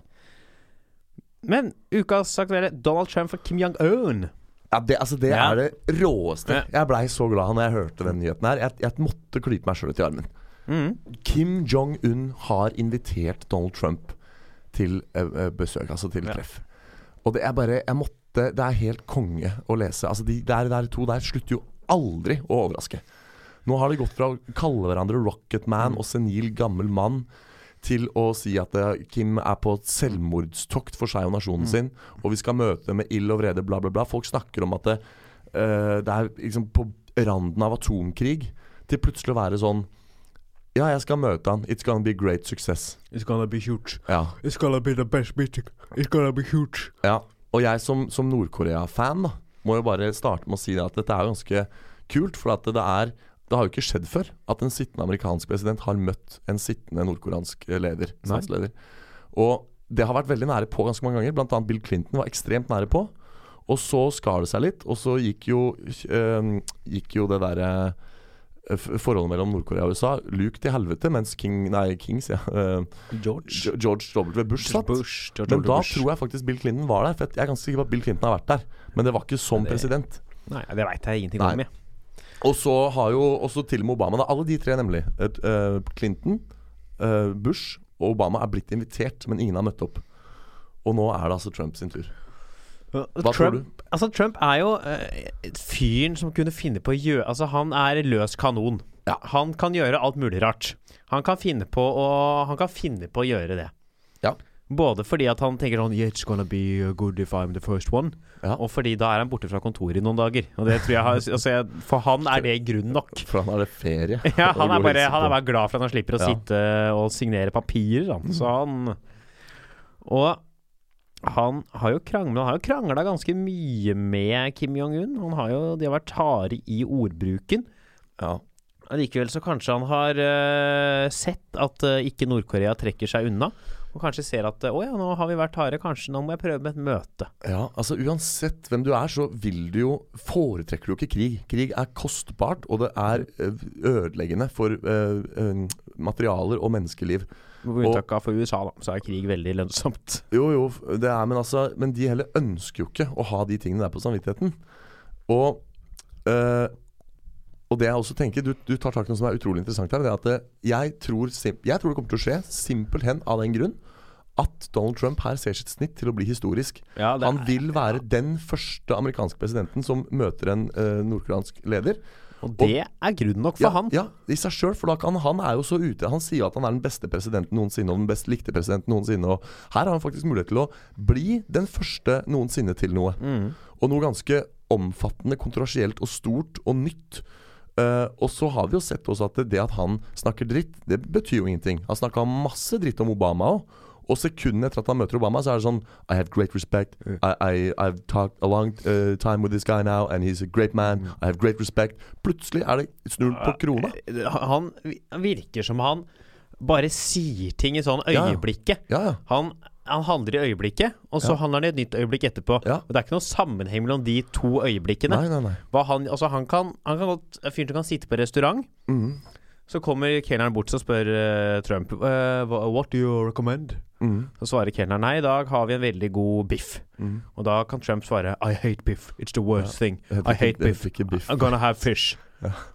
S2: Men ukas aktuelle Donald Trump for Kim Jong-un.
S3: ja det, altså, det
S2: Ja.
S3: er det råeste. Jeg blei så glad når jeg hørte den nyheten her. Jeg, jeg måtte klype meg sjøl ut i armen.
S2: Mm.
S3: Kim Jong-un har invitert Donald Trump til eh, eh, besøk, altså til
S2: Ja.
S3: treff. Og det er bare Jeg måtte Det er helt konge å lese. Altså, de der, der to der slutter jo aldri å overraske. Nå har de gått fra å kalle hverandre Rocket Man og senil gammel mann til å si at eh, Kim er på et selvmordstokt for seg og nasjonen sin, og vi skal møte med ild og vrede, bla, bla, bla. Folk snakker om at det, eh, det er liksom på randen av atomkrig, til plutselig å være sånn Ja, jeg skal møte han. It's gonna be a great success.
S1: It's gonna be huge.
S3: Ja.
S1: It's gonna be the best meeting. It's gonna be huge.
S3: Ja, og jeg som, som Nord-Korea-fan da, må jo bare starte med å si det at dette er ganske kult, for at det er det har jo ikke skjedd før at en sittende amerikansk president har møtt en sittende nordkoreansk eh, leder.
S2: Nei.
S3: statsleder. Og det har vært veldig nære på ganske mange ganger. Blant annet Bill Clinton var ekstremt nære på. Og så skar det seg litt, og så gikk jo, eh, gikk jo det derre eh, f- forholdet mellom Nord-Korea og USA luk til helvete, mens King, nei, King, sier jeg, eh,
S2: George.
S3: George W. Bush satt.
S2: Bush. George
S3: Men
S2: W.
S3: da
S2: Bush.
S3: tror jeg faktisk Bill Clinton var der. For jeg er ganske sikker på at Bill Clinton har vært der. Men det var ikke som
S2: Men det-
S3: president.
S2: Nei, det veit jeg ingenting
S3: Nei.
S2: om, jeg.
S3: Og så har jo også til og med Obama da, Alle de tre, nemlig. Et, eh, Clinton, eh, Bush og Obama er blitt invitert, men ingen har møtt opp. Og nå er det altså Trump sin tur. Hva tror
S2: Trump, altså, Trump er jo eh, fyren som kunne finne på å gjøre Altså, han er løs kanon.
S3: Ja.
S2: Han kan gjøre alt mulig rart. Han kan finne på å, han kan finne på å gjøre det.
S3: Ja.
S2: Både fordi at han tenker sånn Yeah, it's gonna be uh, good if I'm the first one.
S3: Ja.
S2: Og fordi da er han borte fra kontoret i noen dager. Og det tror jeg har, altså, jeg- For han er det grunn nok.
S3: For han er det ferie.
S2: Ja, han
S3: Og
S2: er,
S3: god
S2: bare,
S3: helse
S2: han er
S3: på.
S2: bare glad for at han slipper å
S3: Ja.
S2: sitte og signere papirer. Han. Så han Og han har jo krangla Han har jo krangla ganske mye med Kim Jong-un. Han har jo, de har vært harde i ordbruken.
S3: ja.
S2: Likevel så kanskje han har eh, sett at eh, ikke Nord-Korea trekker seg unna. Og kanskje ser at eh, å ja, nå har vi vært harde, kanskje nå må jeg prøve med et møte.
S3: Ja, altså Uansett hvem du er, så vil du jo foretrekker du ikke krig. Krig er kostbart, og det er eh, ødeleggende for eh, eh, materialer og menneskeliv.
S2: Med unntak av for USA, da, så er krig veldig lønnsomt.
S3: Jo, jo, f- det er, men altså Men de heller ønsker jo ikke å ha de tingene der på samvittigheten. Og, eh, og det jeg også tenker Du, du tar tak i noe som er utrolig interessant her. Det er at eh, jeg tror, sim- jeg tror det kommer til å skje, simpelthen av den grunn, at Donald Trump her ser sitt snitt til å bli historisk.
S2: Ja, det
S3: Han
S2: er-
S3: vil være den første amerikanske presidenten som møter en eh, nordkoreansk leder.
S2: Og det er grunn nok for
S3: Ja,
S2: han.
S3: ja, i seg sjøl. For da kan, han er jo så ute. Han sier at han er den beste presidenten noensinne, og den best likte presidenten noensinne. Og her har han faktisk mulighet til å bli den første noensinne til noe.
S2: Mm.
S3: Og noe ganske omfattende, kontroversielt og stort og nytt. Eh, og så har vi jo sett også at det, det at han snakker dritt, det betyr jo ingenting. Han snakka masse dritt om Obama òg. Og sekundene etter at han møter Obama, så er det sånn I have great respect. I, I, I've talked a long eh, time with this guy now, and he's a great man. I have great respect. Plutselig er det snur
S2: Ah.
S3: på krona.
S2: Han han virker som han bare sier ting i sånn
S3: Ja, ja.
S2: øyeblikket.
S3: Ja, ja.
S2: Han, han handler i øyeblikket, og så handler han i et nytt øyeblikk etterpå.
S3: Ja.
S2: Og Det er ikke noen sammenheng mellom de to øyeblikkene.
S3: Nei, nei, nei.
S2: Hva han, altså han kan, han kan godt, en fyr som kan sitte på restaurant
S3: Mm-hmm.
S2: Så kommer kelneren bort og spør eh, Trump eh, hva- What do you recommend?
S3: Mm-hmm.
S2: Så svarer kelneren Nei, i dag har vi en veldig god biff Og da kan Trump svare I hate biff, it's the worst thing
S3: Mm. Jeg
S2: I
S3: fikk-
S2: hate
S3: jeg
S2: biff,
S3: fikk ikke biff.
S2: I'm gonna have fish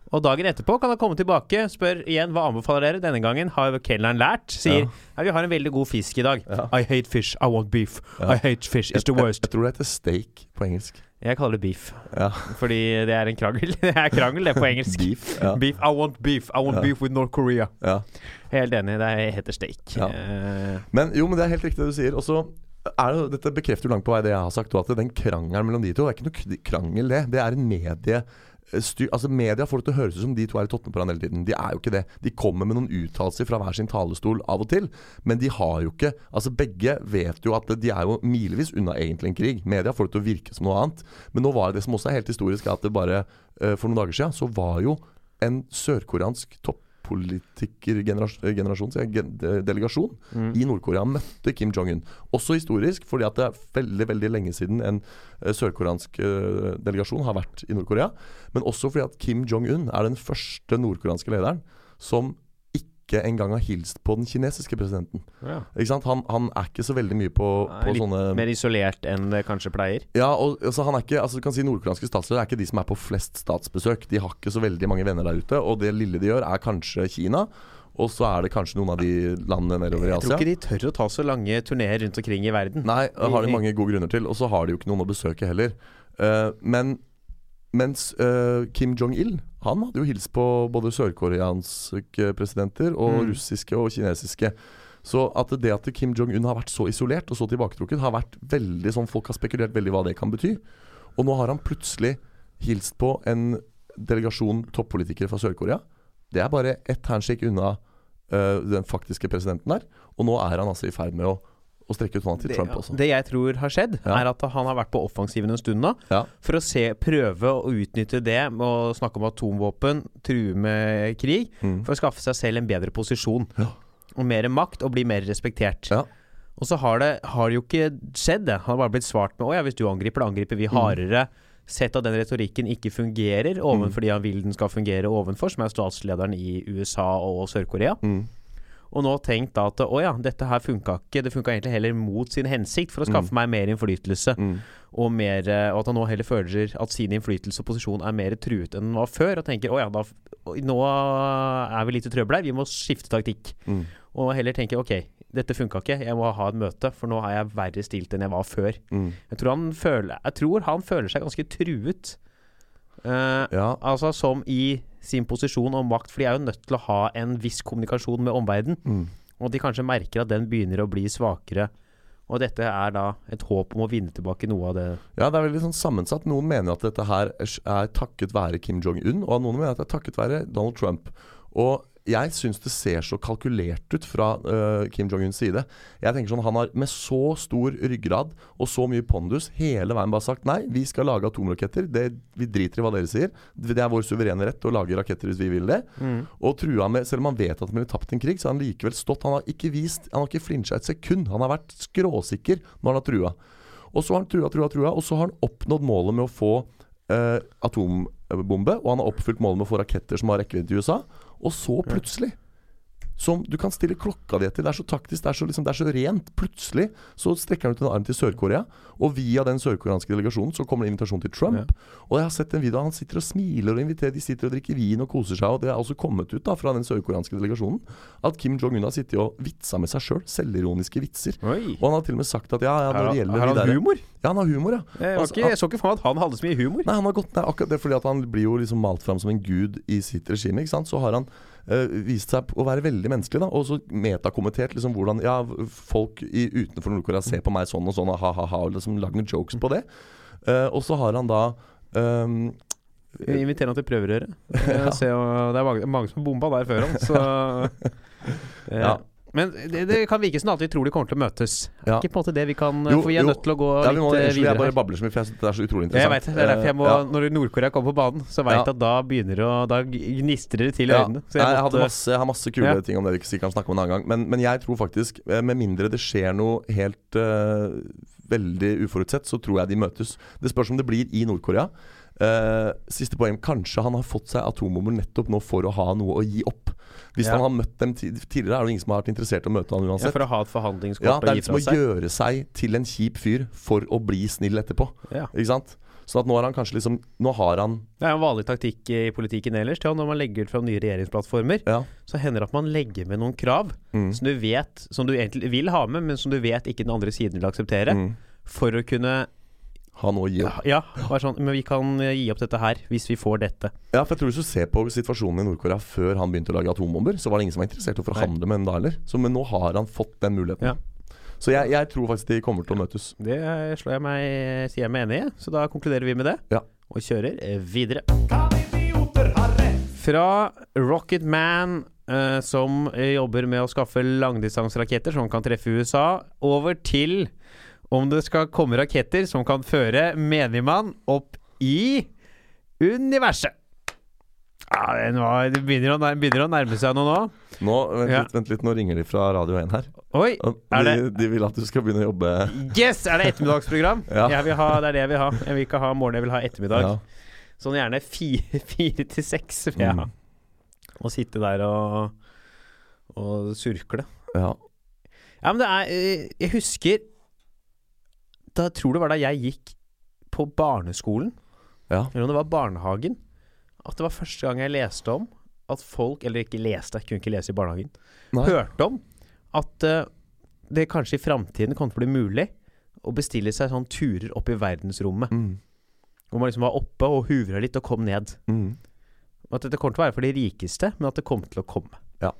S2: Og dagen etterpå kan han komme tilbake Spør igjen, hva anbefaler dere? Denne gangen har kelneren lært Sier, «Nei, vi har en veldig god fisk i dag I hate fish, I want beef I hate fish, it's the
S3: Jeg,
S2: worst
S3: jeg tror det heter steak på engelsk.
S2: Jeg kaller det beef
S3: Ja.
S2: Fordi det er en krangel Det er krangel det på engelsk
S3: Beef. Ja.
S2: Beef, I want beef. I want
S3: Ja.
S2: beef with North Korea.
S3: Ja.
S2: Helt enig, det heter steak.
S3: Ja.
S2: Eh,
S3: Men jo, men det er helt riktig det du sier. Og så er det, jo- dette bekrefter jo langt på vei det jeg har sagt. Og at den krangelen mellom de to, det er ikke noe k- krangel, det. Det er en medie... Styr, altså Media får det til å høres ut som de to er i tottene på hverandre hele tiden. De er jo ikke det. De kommer med noen uttalelser fra hver sin talerstol av og til, men de har jo ikke Altså Begge vet jo at de er jo milevis unna egentlig en krig. Media får det til å virke som noe annet. Men nå var det det som også er helt historisk, er at det bare eh, for noen dager siden så var jo en sørkoreansk toppolitikergenerasjon, sier jeg, gen- de- delegasjon i Nord-Korea møtte Kim Jong-un. Også historisk, fordi at det er veldig veldig lenge siden en eh, sørkoreansk eh, delegasjon har vært i Nord-Korea. Men også fordi at Kim Jong-un er den første nordkoreanske lederen som ikke engang har hilst på den kinesiske presidenten.
S2: ja.
S3: Ikke sant? Han, han er ikke så veldig mye på, på
S2: Litt
S3: sånne
S2: mer isolert enn det kanskje pleier.
S3: ja, og altså, han er ikke, altså, du kan si Nordkoreanske statsledere er ikke de som er på flest statsbesøk. De har ikke så veldig mange venner der ute, og det lille de gjør, er kanskje Kina. Og så er det kanskje noen av de landene nedover i
S2: Jeg tror
S3: Asia.
S2: ikke de tør å ta så lange turneer rundt omkring i verden.
S3: Nei, det har de mange gode grunner til. Og så har de jo ikke noen å besøke heller. Eh, men mens eh, Kim Jong-il Han hadde jo hilst på både sørkoreanske presidenter og
S2: Mm.
S3: russiske og kinesiske. Så at det at Kim Jong-un har vært så isolert og så tilbaketrukket, har vært veldig sånn Folk har spekulert veldig hva det kan bety. Og nå har han plutselig hilst på en delegasjon toppolitikere fra Sør-Korea. Det er bare ett handshake unna eh, den faktiske presidenten der. Og nå er han altså i ferd med å, å strekke ut hånda til
S2: Det,
S3: Trump også.
S2: det jeg tror har skjedd,
S3: Ja.
S2: er at han har vært på offensiven en stund nå.
S3: Ja.
S2: For å se, prøve å utnytte det med å snakke om atomvåpen, true med krig, for å skaffe seg selv en bedre posisjon.
S3: Mm. Ja.
S2: Og mer makt, og bli mer respektert.
S3: Ja.
S2: Og så har det, har det jo ikke skjedd, det. Han har bare blitt svart med 'Å ja, hvis du angriper, da angriper
S3: Mm.
S2: vi hardere'. Sett at den retorikken ikke fungerer
S3: Mm.
S2: ovenfor de han vil den skal fungere ovenfor, som er statslederen i USA og Sør-Korea.
S3: Mm,
S2: Og nå tenkt da at 'Å ja, dette her funka ikke'. Det funka egentlig heller mot sin hensikt for å skaffe meg mer innflytelse.
S3: Mm.
S2: Og, mer, eh, og at han nå heller føler at sin innflytelse og posisjon er mer truet enn den var før. Og tenker 'Å ja, da, f- nå er vi litt i trøbbel her. Vi må skifte taktikk'.
S3: mm,
S2: Og heller tenker ok, dette funka ikke, jeg må ha et møte, for nå er jeg verre stilt enn jeg var før.
S3: mm.
S2: Jeg, tror han føler, jeg tror han føler seg ganske truet. Eh,
S3: Ja.
S2: Altså som i sin posisjon og makt, for de er jo nødt til
S3: Mm.
S2: å ha en viss kommunikasjon med omverdenen. Og de kanskje merker at den begynner å bli svakere Og dette er da et håp om å vinne tilbake noe av det
S3: Ja, det er veldig sånn sammensatt. Noen mener at dette her er takket være Kim Jong-un, og noen mener at det er takket være Donald Trump. Og jeg syns det ser så kalkulert ut fra øh, Kim Jong-uns side. Jeg tenker sånn, Han har med så stor ryggrad og så mye pondus hele veien bare sagt nei, vi skal lage atomraketter. Det, vi driter i hva dere sier. Det er vår suverene rett å lage raketter hvis vi vil det. Og trua med, Selv om han vet at han ville tapt en krig, så har han likevel stått. Han har ikke vist, han har ikke flinsja et sekund. Han har vært skråsikker når han har trua. Og så har han trua, trua, trua, og så har han oppnådd målet med å få eh, atombombe, og han har oppfylt målet med å få raketter som har rekkevidde til USA, og så plutselig som du kan stille klokka di etter. Det er så taktisk, det er så, liksom, det er så rent. Plutselig så strekker han ut en arm til Sør-Korea, og via den sørkoreanske delegasjonen så kommer det invitasjon til Trump. Og jeg har sett en video av han sitter og smiler og inviterer, de sitter og drikker vin og koser seg, og det er også kommet ut da fra den sørkoreanske delegasjonen at Kim Jong-un har sittet og vitsa med seg sjøl, selv, selvironiske vitser.
S2: Oi!
S3: Og han har til og med sagt at ja, ja når
S2: Har
S3: det
S2: han,
S3: gjelder
S2: har
S3: de
S2: han
S3: der-
S2: humor?
S3: ja, han har humor, ja.
S2: Jeg, var
S3: Altså,
S2: ikke,
S3: han-
S2: jeg så ikke for meg at han hadde så mye humor.
S3: Nei, han har gått, nei, akkurat det er fordi at han blir jo liksom malt fram som en gud i sitt regime. ikke sant? Så har han eh, vist seg å være veldig menneskelig, da. Og så metakommentert liksom hvordan ja, folk i, utenfor Nord-Korea ser på meg sånn og sånn, og ha-ha-ha, og liksom lagd noen jokes på det. Eh, og så har han da ehm,
S2: Vi inviterer han til prøverøret. Eh, se, og det er mange, mange som har bomba der før han, så eh,
S3: Ja.
S2: Men det, det kan virke som at vi tror de kommer til å møtes. Er
S3: Ja.
S2: ikke på en måte det vi kan
S3: Jo,
S2: For vi er
S3: jo.
S2: nødt til å gå
S3: ja, vi
S2: litt
S3: må,
S2: eh,
S3: ellers vil jeg
S2: videre her.
S3: bare babler så mye, for jeg synes det er så utrolig
S2: Ja, Jeg
S3: interessant.
S2: vet det. Det er derfor jeg må
S3: Eh, ja.
S2: Når Nord-Korea kommer på banen, så veit jeg
S3: Ja.
S2: at da begynner det å Da gnistrer det til i
S3: Ja.
S2: øynene. Så jeg
S3: Nei, jeg, hadde
S2: måtte-
S3: masse, jeg har masse kule
S2: Ja.
S3: ting om det vi ikke sikkert kan snakke om en annen gang. Men, men jeg tror faktisk, eh, med mindre det skjer noe helt eh, veldig uforutsett, så tror jeg de møtes. Det spørs om det blir i Nord-Korea. Eh, siste poeng. Kanskje han har fått seg atombomber nettopp nå for å ha noe å gi opp. Hvis
S2: Ja.
S3: han har møtt dem ti- tidligere, er det ingen som har vært interessert i å møte han
S2: ja,
S3: uansett.
S2: For å ha et forhandlingskort
S3: Ja, det
S2: å
S3: er
S2: gi
S3: litt som
S2: fra
S3: å
S2: seg.
S3: gjøre seg til en kjip fyr for å bli snill etterpå.
S2: Ja.
S3: Ikke sant? Sånn at nå har han kanskje liksom Nå har han
S2: Det er en vanlig taktikk i politikken ellers. Til når man legger ut fram nye regjeringsplattformer,
S3: Ja.
S2: så hender det at man legger med noen krav
S3: Mm.
S2: som du vet Som du egentlig vil ha med, men som du vet ikke den andre siden vil akseptere.
S3: Mm.
S2: For å kunne
S3: Ha noe å gi opp.
S2: Ja, bare sånn Men vi kan eh, gi opp dette her, hvis vi får dette.
S3: Ja, for jeg tror Hvis du ser på situasjonen i Nord-Korea før han begynte å lage atombomber, så var det ingen som var interessert i å forhandle med henne da heller. Så, Men nå har han fått den muligheten.
S2: Ja.
S3: Så jeg, jeg tror faktisk de kommer til å møtes.
S2: Det eh, slår jeg meg, sier jeg meg enig i, så da konkluderer vi med det.
S3: Ja.
S2: Og kjører eh, videre. Fra Rocket Man, eh, som eh, jobber med å skaffe langdistanseraketter som kan treffe USA, over til om det skal komme raketter som kan føre menigmann opp i universet. Ja, den var, det begynner å, nær- begynner å nærme seg noe nå.
S3: Nå vent,
S2: Ja.
S3: litt, vent litt, nå ringer de fra Radio 1 her.
S2: Oi!
S3: Og
S2: Er
S3: De, de vil at du skal begynne å jobbe.
S2: Yes! Er det ettermiddagsprogram?
S3: Ja.
S2: Jeg vil ha, det er det jeg vil ha. Jeg vil ikke ha morgen, jeg vil ha ettermiddag.
S3: Ja.
S2: Sånn gjerne fire, fire til seks vil jeg ha.
S3: Mm.
S2: Og sitte der og, og surkle.
S3: Ja.
S2: Ja, men det er eh, Jeg husker Da jeg tror det var da jeg gikk på barneskolen,
S3: Ja.
S2: eller om det var barnehagen, at det var første gang jeg leste om at folk Eller ikke leste, jeg kunne ikke lese i barnehagen.
S3: Nei.
S2: Hørte om at eh, det kanskje i framtiden kommer til å bli mulig å bestille seg sånn turer opp i verdensrommet.
S3: Mm.
S2: Hvor man liksom var oppe og huvra litt og kom ned.
S3: Mm.
S2: Og At dette kommer til å være for de rikeste, men at det kommer til å komme.
S3: Ja.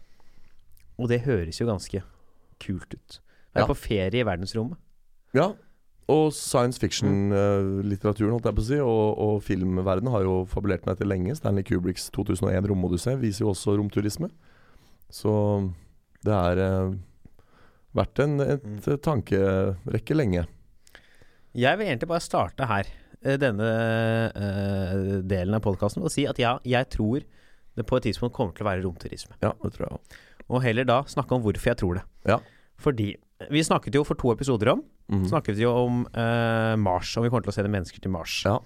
S2: Og det høres jo ganske kult ut. Være
S3: Ja.
S2: på ferie i verdensrommet.
S3: ja. Og science fiction-litteraturen, holdt jeg på å si, og, og filmverdenen har jo fabulert meg til lenge. Stanley Kubricks 2001 Romodyssé viser jo også romturisme. Så det er eh, vært en et, eh, tankerekke lenge.
S2: Jeg vil egentlig bare starte her, eh, denne eh, delen av podkasten, og si at ja, jeg tror det på et tidspunkt kommer til å være romturisme.
S3: Ja, det tror jeg òg.
S2: Og heller da snakke om hvorfor jeg tror det.
S3: Ja.
S2: Fordi Vi snakket jo for to episoder om
S3: mm.
S2: Snakket jo om eh, Mars, om vi kommer til å sende mennesker til Mars.
S3: Ja.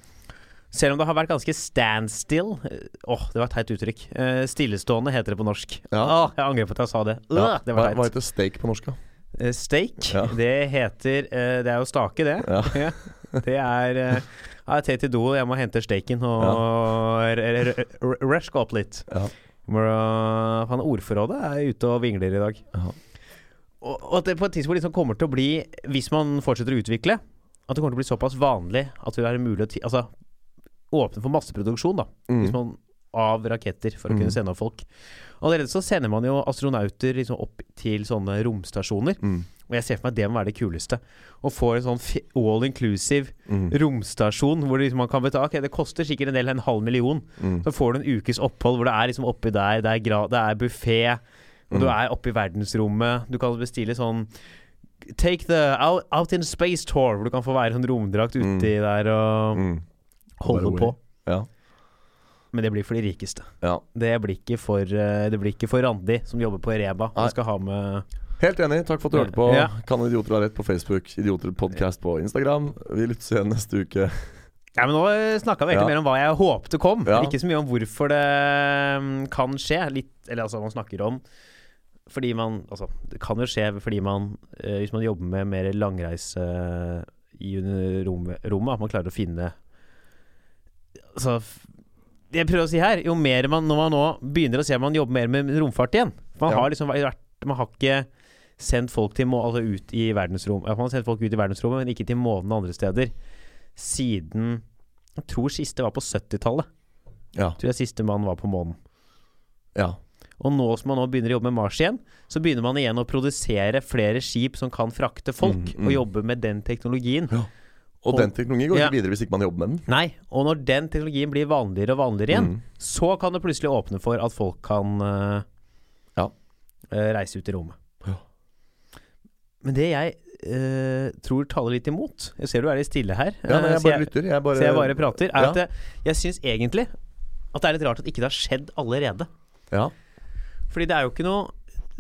S2: Selv om det har vært ganske standstill eh, Åh, det var et teit uttrykk. Eh, stillestående heter det på norsk.
S3: Ja.
S2: Åh, jeg angrer på at jeg sa det. Øh,
S3: Ja.
S2: Det
S3: hva,
S2: var
S3: hva
S2: teit.
S3: heter steak på norsk, da?
S2: Eh, steak,
S3: Ja.
S2: det heter eh, Det er jo stake, det.
S3: Ja.
S2: Ja. Det er eh, ja, Jeg tar til do, jeg må hente steiken og r- r- r- røske opp litt.
S3: Ja.
S2: Må da- Han ordforrådet er ute og vingler i dag.
S3: Ja.
S2: Og, og at det på et tidspunkt liksom kommer til å bli, hvis man fortsetter å utvikle, at det kommer til å bli såpass vanlig at det er mulig å ti altså, åpne for masseproduksjon, da. Hvis man av raketter for å
S3: Mm.
S2: kunne sende opp folk. Og Allerede så sender man jo astronauter liksom opp til sånne romstasjoner.
S3: Mm.
S2: Og jeg ser for meg det må være det kuleste. Å få en sånn fi- all inclusive
S3: Mm.
S2: romstasjon hvor det liksom man kan betale Ok, det koster sikkert en del, en halv million.
S3: Mm.
S2: Så får du en ukes opphold hvor det er liksom oppi der, det er, gra- det er buffé, og
S3: Mm.
S2: du er oppe i verdensrommet. Du kan bestille sånn Take the out, out in space tour, hvor du kan få være sånn romdrakt
S3: Mm.
S2: uti der og
S3: Mm.
S2: holde
S3: Bare
S2: på.
S3: Ja.
S2: Men det blir for de rikeste.
S3: ja.
S2: Det blir ikke for, eh, det blir ikke for Randi, som jobber på Reba.
S3: Nei.
S2: Hun skal ha med
S3: Helt enig. Takk for at du hørte på.
S2: Ja.
S3: Kan idioter ha rett på Facebook? Idioter podcast på Instagram. Vi lyttes igjen neste uke.
S2: Ja, men Nå snakka vi egentlig
S3: Ja.
S2: mer om hva jeg håpte kom,
S3: Ja.
S2: ikke så mye om hvorfor det mm, kan skje. Litt, eller altså, man snakker om fordi man Altså, det kan jo skje fordi man eh, Hvis man jobber med mer langreise eh, i under rom- rommet, at man klarer å finne Altså f- Det jeg prøver å si her, jo mer man Når man nå begynner å se at man jobber mer med romfart igjen Man
S3: Ja.
S2: har liksom vært Man har ikke sendt folk til må, altså ut i verdensrom ja, Man har sendt folk ut i verdensrommet, men ikke til månen og andre steder siden Jeg tror siste var på 70-tallet.
S3: Ja.
S2: Tror jeg siste mann var på månen.
S3: ja.
S2: Og nå som man nå begynner å jobbe med Mars igjen, så begynner man igjen å produsere flere skip som kan frakte folk,
S3: Mm, mm.
S2: og jobbe med den teknologien.
S3: Og den teknologien går
S2: Ja.
S3: ikke videre hvis ikke man jobber med den. Mm.
S2: Nei, og når den teknologien blir vanligere og vanligere igjen, så kan det plutselig åpne for at folk kan eh,
S3: Ja.
S2: eh, reise ut i rommet.
S3: Ja.
S2: Men det jeg eh, tror taler litt imot Jeg ser du er litt stille her.
S3: Ja, nei,
S2: eh,
S3: jeg
S2: så
S3: bare lytter. Jeg bare,
S2: Så jeg bare prater. Er
S3: Ja.
S2: at jeg, jeg syns egentlig at det er litt rart at ikke det har skjedd allerede.
S3: Ja.
S2: Fordi det er jo ikke noe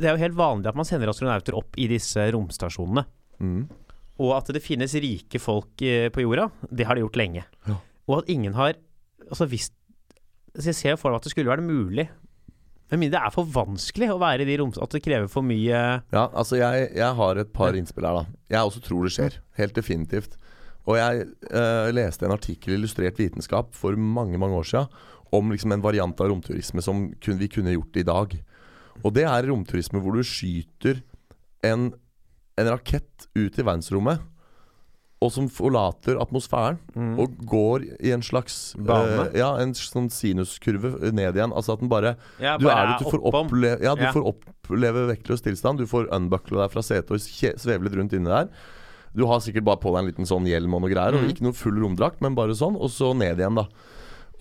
S2: Det er jo helt vanlig at man sender astronauter opp i disse romstasjonene.
S3: Mm.
S2: Og at det finnes rike folk eh, på jorda, det har det gjort lenge.
S3: Ja.
S2: Og at ingen har Altså hvis Så jeg ser jo for meg at det skulle være mulig. Med mindre det er for vanskelig å være i de roms... At det krever for mye
S3: Ja, altså jeg, jeg har et par innspill her da Jeg også tror det skjer, helt definitivt Og jeg eh, leste en artikkel i Illustrert vitenskap for mange, mange år siden Om liksom en variant av romturisme som kun, vi kunne gjort i dag Og det er romturisme hvor du skyter en, en rakett ut i verdensrommet og som forlater atmosfæren og går i en slags
S2: Bane.
S3: eh, ja, en sånn sinuskurve ned igjen. Altså at den bare
S2: Ja,
S3: du
S2: bare
S3: er det, du får,
S2: oppom.
S3: opple ja, du
S2: Ja.
S3: får oppleve vektløs tilstand. Du får unbuckle deg fra setet og kje- sveve litt rundt inni der. Du har sikkert bare på deg en liten sånn hjelm og noe greier,
S2: Mm.
S3: og ikke noe full romdrakt, men bare sånn, og så ned igjen, da.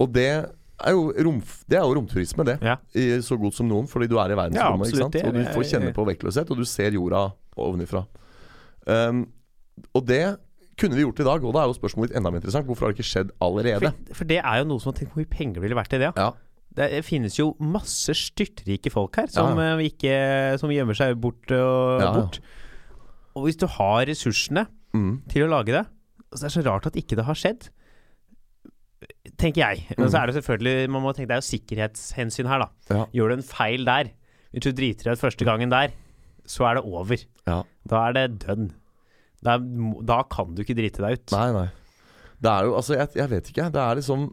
S3: Og det er jo, romf det er jo romturisme, det.
S2: Ja.
S3: I så godt som noen, fordi du
S2: Ja,
S3: er i verdensrommet,
S2: absolutt,
S3: ikke sant.
S2: det
S3: Og du
S2: er-
S3: får kjenne på vektløshet, og du ser jorda ovenifra. Um, og det kunne vi gjort i dag, og da er jo spørsmålet litt enda mer interessant. Hvorfor har det ikke skjedd allerede?
S2: For, for det er jo noe som har tenkt på hvor mye penger det ville vært i det.
S3: Ja.
S2: Det finnes jo masse styrtrike folk her som,
S3: Ja,
S2: eh, ikke, som gjemmer seg bort og
S3: Ja, ja.
S2: bort. Og hvis du har ressursene
S3: Mm.
S2: til å lage det, så er det så rart at ikke det har skjedd. Tenker jeg. Men
S3: Mm.
S2: så er det selvfølgelig Man må tenke det er jo sikkerhetshensyn her, da.
S3: Ja.
S2: Gjør du en feil der, hvis du driter deg ut første gangen der, så er det over.
S3: Ja.
S2: Da er det done. Da, er- da kan du ikke drite deg ut.
S3: Nei, nei. Det er jo, altså, jeg, jeg vet ikke. Det er liksom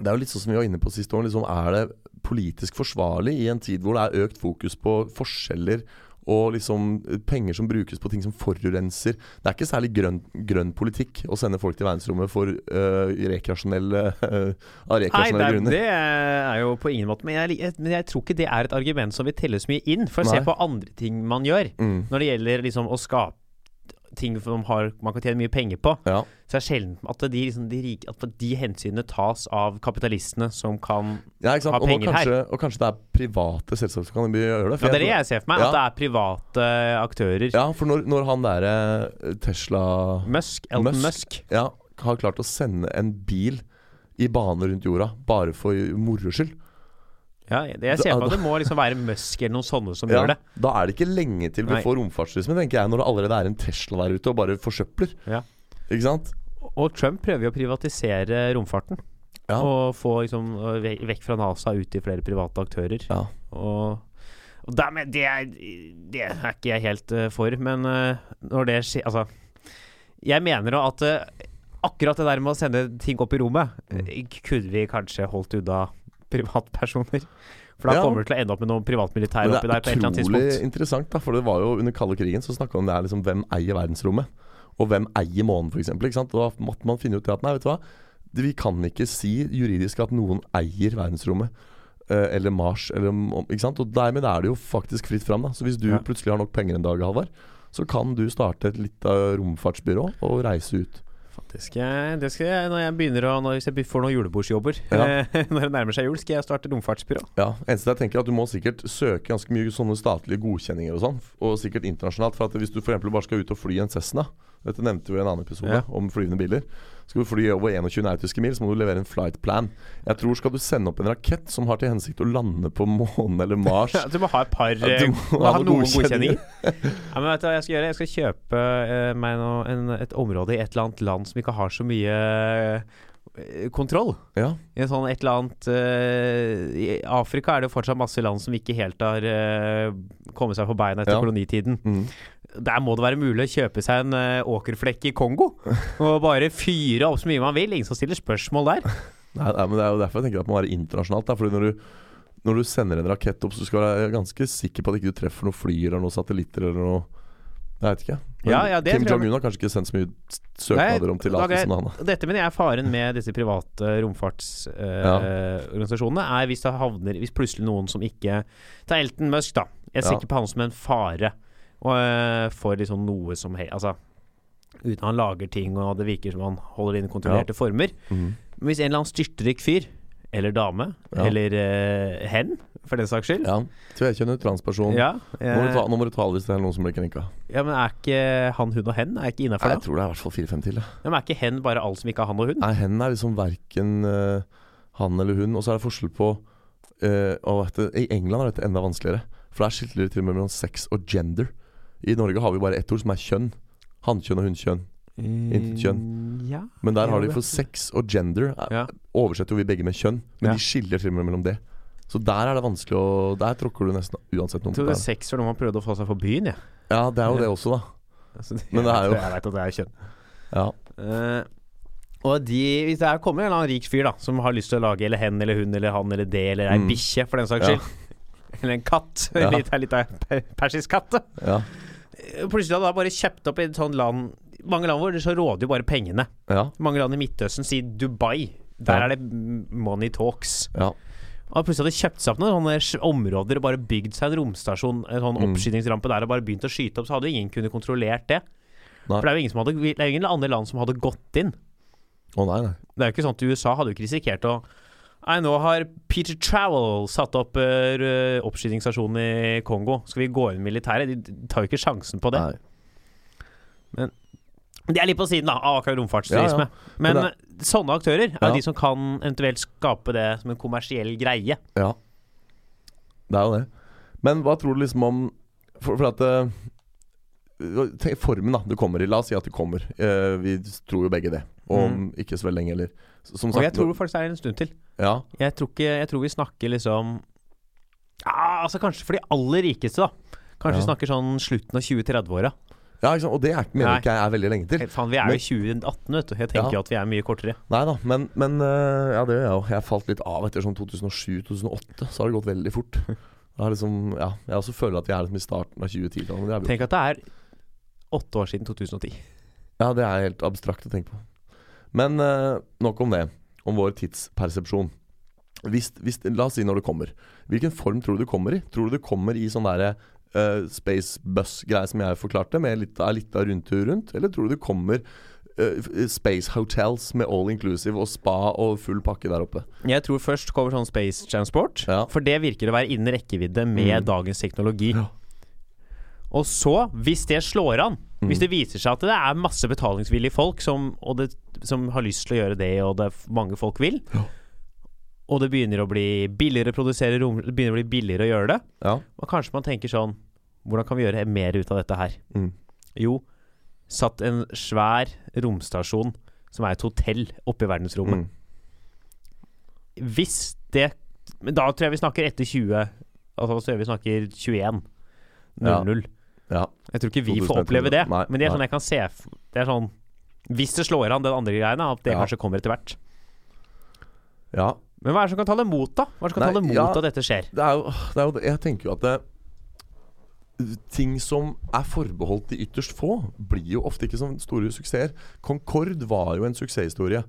S3: Det er jo litt sånn som vi var inne på sist år. Liksom, er det politisk forsvarlig i en tid hvor det er økt fokus på forskjeller og liksom eh, penger som brukes på ting som forurenser. Det er ikke særlig grønn, grønn politikk å sende folk til verdensrommet for eh, rekreasjonelle eh,
S2: Nei,
S3: av
S2: det
S3: rekreasjonelle
S2: er,
S3: grunner.
S2: det er jo på ingen måte Men jeg, jeg, men jeg tror ikke det er et argument som vil telle så mye inn. For å se
S3: Nei.
S2: på andre ting man gjør,
S3: Mm,
S2: når det gjelder liksom å skape ting som har, man kan tjene mye penger på,
S3: ja.
S2: så er det sjelden at de, liksom, de, rike- at de hensynene tas av kapitalistene som kan
S3: ja, ikke sant.
S2: Ha
S3: Og, nå
S2: penger her.
S3: kanskje, og kanskje det er private selskaper som kan gjøre det. for
S2: Ja, det er
S3: jeg
S2: det
S3: tror-
S2: jeg ser for meg.
S3: Ja.
S2: At det er private aktører.
S3: ja, for når, når han derre Tesla
S2: Musk, Elton
S3: Musk.
S2: Musk.
S3: ja, har klart å sende en bil i bane rundt jorda, bare for moro skyld.
S2: Ja, det
S3: Altså,
S2: jeg ser for meg at det må liksom være Musk eller noen sånne som gjør det.
S3: Da er det ikke lenge til vi
S2: Nei.
S3: får romfartsturisme, tenker jeg, når det allerede er en Tesla der ute og bare forsøpler.
S2: Ja.
S3: Ikke sant?
S2: Og Trump prøver jo å privatisere romfarten.
S3: Ja.
S2: Og få liksom øh, ve- vekk fra NASA ut til flere private aktører.
S3: Ja.
S2: Og, og dermed, det, er, det er ikke jeg helt øh, for, men øh, når det skjer Altså, jeg mener jo at øh, akkurat det der med å sende ting opp i rommet,
S3: Mm.
S2: øh, kunne vi kanskje holdt unna privatpersoner. For da
S3: Ja.
S2: kommer du til å ende opp med noen privatmilitære
S3: Men
S2: oppi der på et eller annet
S3: utrolig
S2: tidspunkt.
S3: interessant, da, for det var jo under kalde krigen så snakka vi om det her liksom, hvem eier verdensrommet, og hvem eier månen, f.eks. Og da måtte man finne ut det at nei, vet du hva, det- Vi kan ikke si juridisk at noen eier verdensrommet. eh, Eller Mars, eller om- Ikke sant? Og dermed er det jo faktisk fritt fram, da. Så hvis du
S2: Ja.
S3: plutselig har nok penger en dag, Halvard, så kan du starte et lite romfartsbyrå og reise ut.
S2: Det skal jeg, det skal jeg når jeg begynner å når, Hvis jeg får noen julebordsjobber
S3: Ja.
S2: når det nærmer seg jul, skal jeg starte romfartsbyrå.
S3: Ja, eneste jeg tenker er at du må sikkert søke ganske mye sånne statlige godkjenninger og sånn, og sikkert internasjonalt. For at hvis du for eksempel bare skal ut og fly en Cessna, dette nevnte vi i en annen episode
S2: Ja.
S3: om flyvende biler, skal du fly over 21 nautiske mil, så må du levere en flight plan. Jeg tror skal du sende opp en rakett som har til hensikt å lande på månen eller Mars
S2: Ja, du må ha et par
S3: Ja, du
S2: eh,
S3: må
S2: må
S3: ha
S2: ha
S3: noen
S2: noen godkjenninger.
S3: godkjenninger.
S2: ja, men vet du hva jeg skal gjøre? Jeg skal kjøpe eh, meg nå en, et område i et eller annet land som ikke har så mye eh, kontroll.
S3: Ja,
S2: I en sånn et eller annet eh, I Afrika er det jo fortsatt masse land som ikke helt har eh, kommet seg på beina etter
S3: Ja.
S2: kolonitiden.
S3: mm.
S2: Der må det være mulig å kjøpe seg en eh, åkerflekk i Kongo og bare fyre opp så mye man vil. Ingen som stiller spørsmål der.
S3: Nei, nei, men Det er jo derfor jeg tenker at det må være internasjonalt. Da. Fordi når du, når du sender en rakett opp, så skal du være ganske sikker på at ikke du treffer noen fly eller noen satellitter eller noe Jeg vet ikke. Men
S2: Ja, ja, det
S3: Kim
S2: tror jeg-
S3: Jong-un har kanskje ikke sendt så mye s- søknader om
S2: Nei, da kan jeg-
S3: tillatelsen, han. da.
S2: Dette mener jeg er faren med disse private romfartsorganisasjonene. er hvis det havner Hvis plutselig noen som ikke Ta Elton Musk, da. Jeg ser
S3: Ja.
S2: ikke på han som en fare og, eh, for liksom noe som he- Altså Uten han lager ting, og det virker som han holder det innen kontrollerte former.
S3: Mhm.
S2: Men hvis en eller annen styrtrik fyr, eller dame,
S3: Ja.
S2: eller eh, hen, for den saks skyld
S3: Ja. Tvekjønnet transperson.
S2: ja,
S3: Nå må, du
S2: eh,
S3: ta, nå må du ta alle hvis det er noen som blir krenka.
S2: ja, men er ikke han, hun og hen Er ikke
S3: Nei,
S2: innafor, da?
S3: jeg tror det er i hvert fall fire-fem til. ja.
S2: Ja, men er ikke hen bare alt som ikke er han og hun?
S3: Nei, hen er liksom verken eh, han eller hun. Og så er det forskjell på eh, og vet du, I England er dette enda vanskeligere. For der skiller de til og med mellom sex og gender. I Norge har vi bare ett ord, som er kjønn. Hannkjønn og hunnkjønn. Intet
S2: kjønn. Mm, Ja.
S3: Men der
S2: Ja,
S3: har de
S2: det-
S3: for sex og gender er-
S2: Ja.
S3: oversetter jo vi begge med kjønn. Men
S2: Ja.
S3: de skiller til og med mellom det. Så der er det vanskelig å Der tråkker du nesten uansett noen
S2: Jeg
S3: på
S2: trodde
S3: tærne.
S2: sex var noe man prøvde å få seg for byen, jeg.
S3: Ja, det er jo det også, da.
S2: Altså, det,
S3: Men det er jo-
S2: Jeg vet at det er kjønn.
S3: Ja.
S2: Eh, og de, hvis det her kommer en eller annen rik fyr da som har lyst til å lage eller hen eller hun eller han eller det eller ei
S3: Mm.
S2: bikkje, for den saks
S3: Ja.
S2: skyld. Eller en katt.
S3: Ja.
S2: Litt, litt av en per- persisk katt. da.
S3: Ja.
S2: Eh, Plutselig hadde han bare kjøpt opp i et sånt land Mange land hvor det så råder jo bare pengene.
S3: ja.
S2: Mange land i Midtøsten sier Dubai. Der
S3: Ja.
S2: er det mm, money talks.
S3: ja.
S2: Og han plutselig hadde kjøpt seg opp noen sånne sj- områder og bare bygd seg en romstasjon, en sånn
S3: Mm.
S2: oppskytingsrampe der og bare begynt å skyte opp, så hadde jo ingen kunnet kontrollert det. For
S3: Nei.
S2: det er jo ingen, som hadde, det er jo ingen andre land som hadde gått inn.
S3: Å nei, nei.
S2: Det er jo ikke sånn at USA hadde jo ikke risikert å Nei, nå har Peter Travel satt opp uh, oppskytingsstasjonen i Kongo. Skal vi gå inn militæret? De tar jo ikke sjansen på det.
S3: nei.
S2: Det er litt på siden da, av akkurat romfartsturisme.
S3: Men
S2: Men eh, sånne aktører er jo
S3: Ja.
S2: de som kan eventuelt skape det som en kommersiell greie.
S3: Ja. Det er jo det. Men hva tror du liksom om For, for at eh, tenk, Formen da du kommer i. La oss si at du kommer. Eh, vi tror jo begge det. Og om ikke så veldig lenge heller. S- Som
S2: Mm. Og jeg
S3: sagt
S2: tror faktisk det er en stund til.
S3: Ja,
S2: Jeg tror, ikke, jeg tror vi snakker liksom ja, altså Kanskje for de aller rikeste, da. Kanskje vi
S3: Ja.
S2: snakker sånn slutten av 2030-åra.
S3: ja ikke sant? Og det er, ikke- mener
S2: Nei.
S3: ikke jeg er veldig lenge til.
S2: Faen, vi er jo i 2018, vet du. Jeg tenker
S3: Ja.
S2: jo at vi er mye kortere.
S3: Nei da, men, men eh, Ja, det gjør jeg jo. Jeg falt litt av etter sånn 2007-2008. Så har det gått veldig fort. Det er liksom, ja, jeg også føler at vi er liksom i starten av 2010-tallet. men det er vi jo.
S2: Tenk at det er åtte år siden 2010.
S3: Ja, det er helt abstrakt å tenke på. Men eh, nok om det. Om vår tidspersepsjon. Hvis, hvis, la oss si når det kommer. Hvilken form tror du det kommer i? Tror du det kommer i sånn derre eh, space bus-greie som jeg forklarte, med litt av, litt av rundtur rundt? Eller tror du det kommer eh, f- space hotels med all inclusive og spa og full pakke der oppe?
S2: Jeg tror først kommer sånn space transport,
S3: Ja.
S2: for det virker å være innen rekkevidde med
S3: Mm.
S2: dagens teknologi.
S3: Ja.
S2: Og så, hvis det slår an,
S3: Mm.
S2: hvis det viser seg at det er masse betalingsvillige folk som, og det, som har lyst til å gjøre det, og det er f- mange folk vil,
S3: Ja.
S2: og det begynner å bli billigere å produsere rom, det begynner å bli billigere å gjøre det,
S3: Ja.
S2: og kanskje man tenker sånn Hvordan kan vi gjøre mer ut av dette her?
S3: Mm.
S2: Jo, satt en svær romstasjon som er et hotell oppe i verdensrommet.
S3: Mm.
S2: Hvis det Men da tror jeg vi snakker etter 20 Altså så tror jeg vi snakker 21
S3: Ja.
S2: 00
S3: Ja.
S2: Jeg tror ikke vi
S3: 2030.
S2: får oppleve det
S3: Nei,
S2: Men det er
S3: nei.
S2: sånn jeg kan se f- Det er sånn Hvis det slår an den andre greiene At det
S3: Ja.
S2: kanskje kommer etter hvert
S3: ja.
S2: Men hva er det som kan tale mot da? Hva er det som kan
S3: Nei,
S2: tale mot
S3: ja.
S2: at dette skjer?
S3: det er jo, det er jo det. Jeg tenker jo at det, ting som er forbeholdt de ytterst få, blir jo ofte ikke sånne store suksesser. Concorde var jo en suksesshistorie.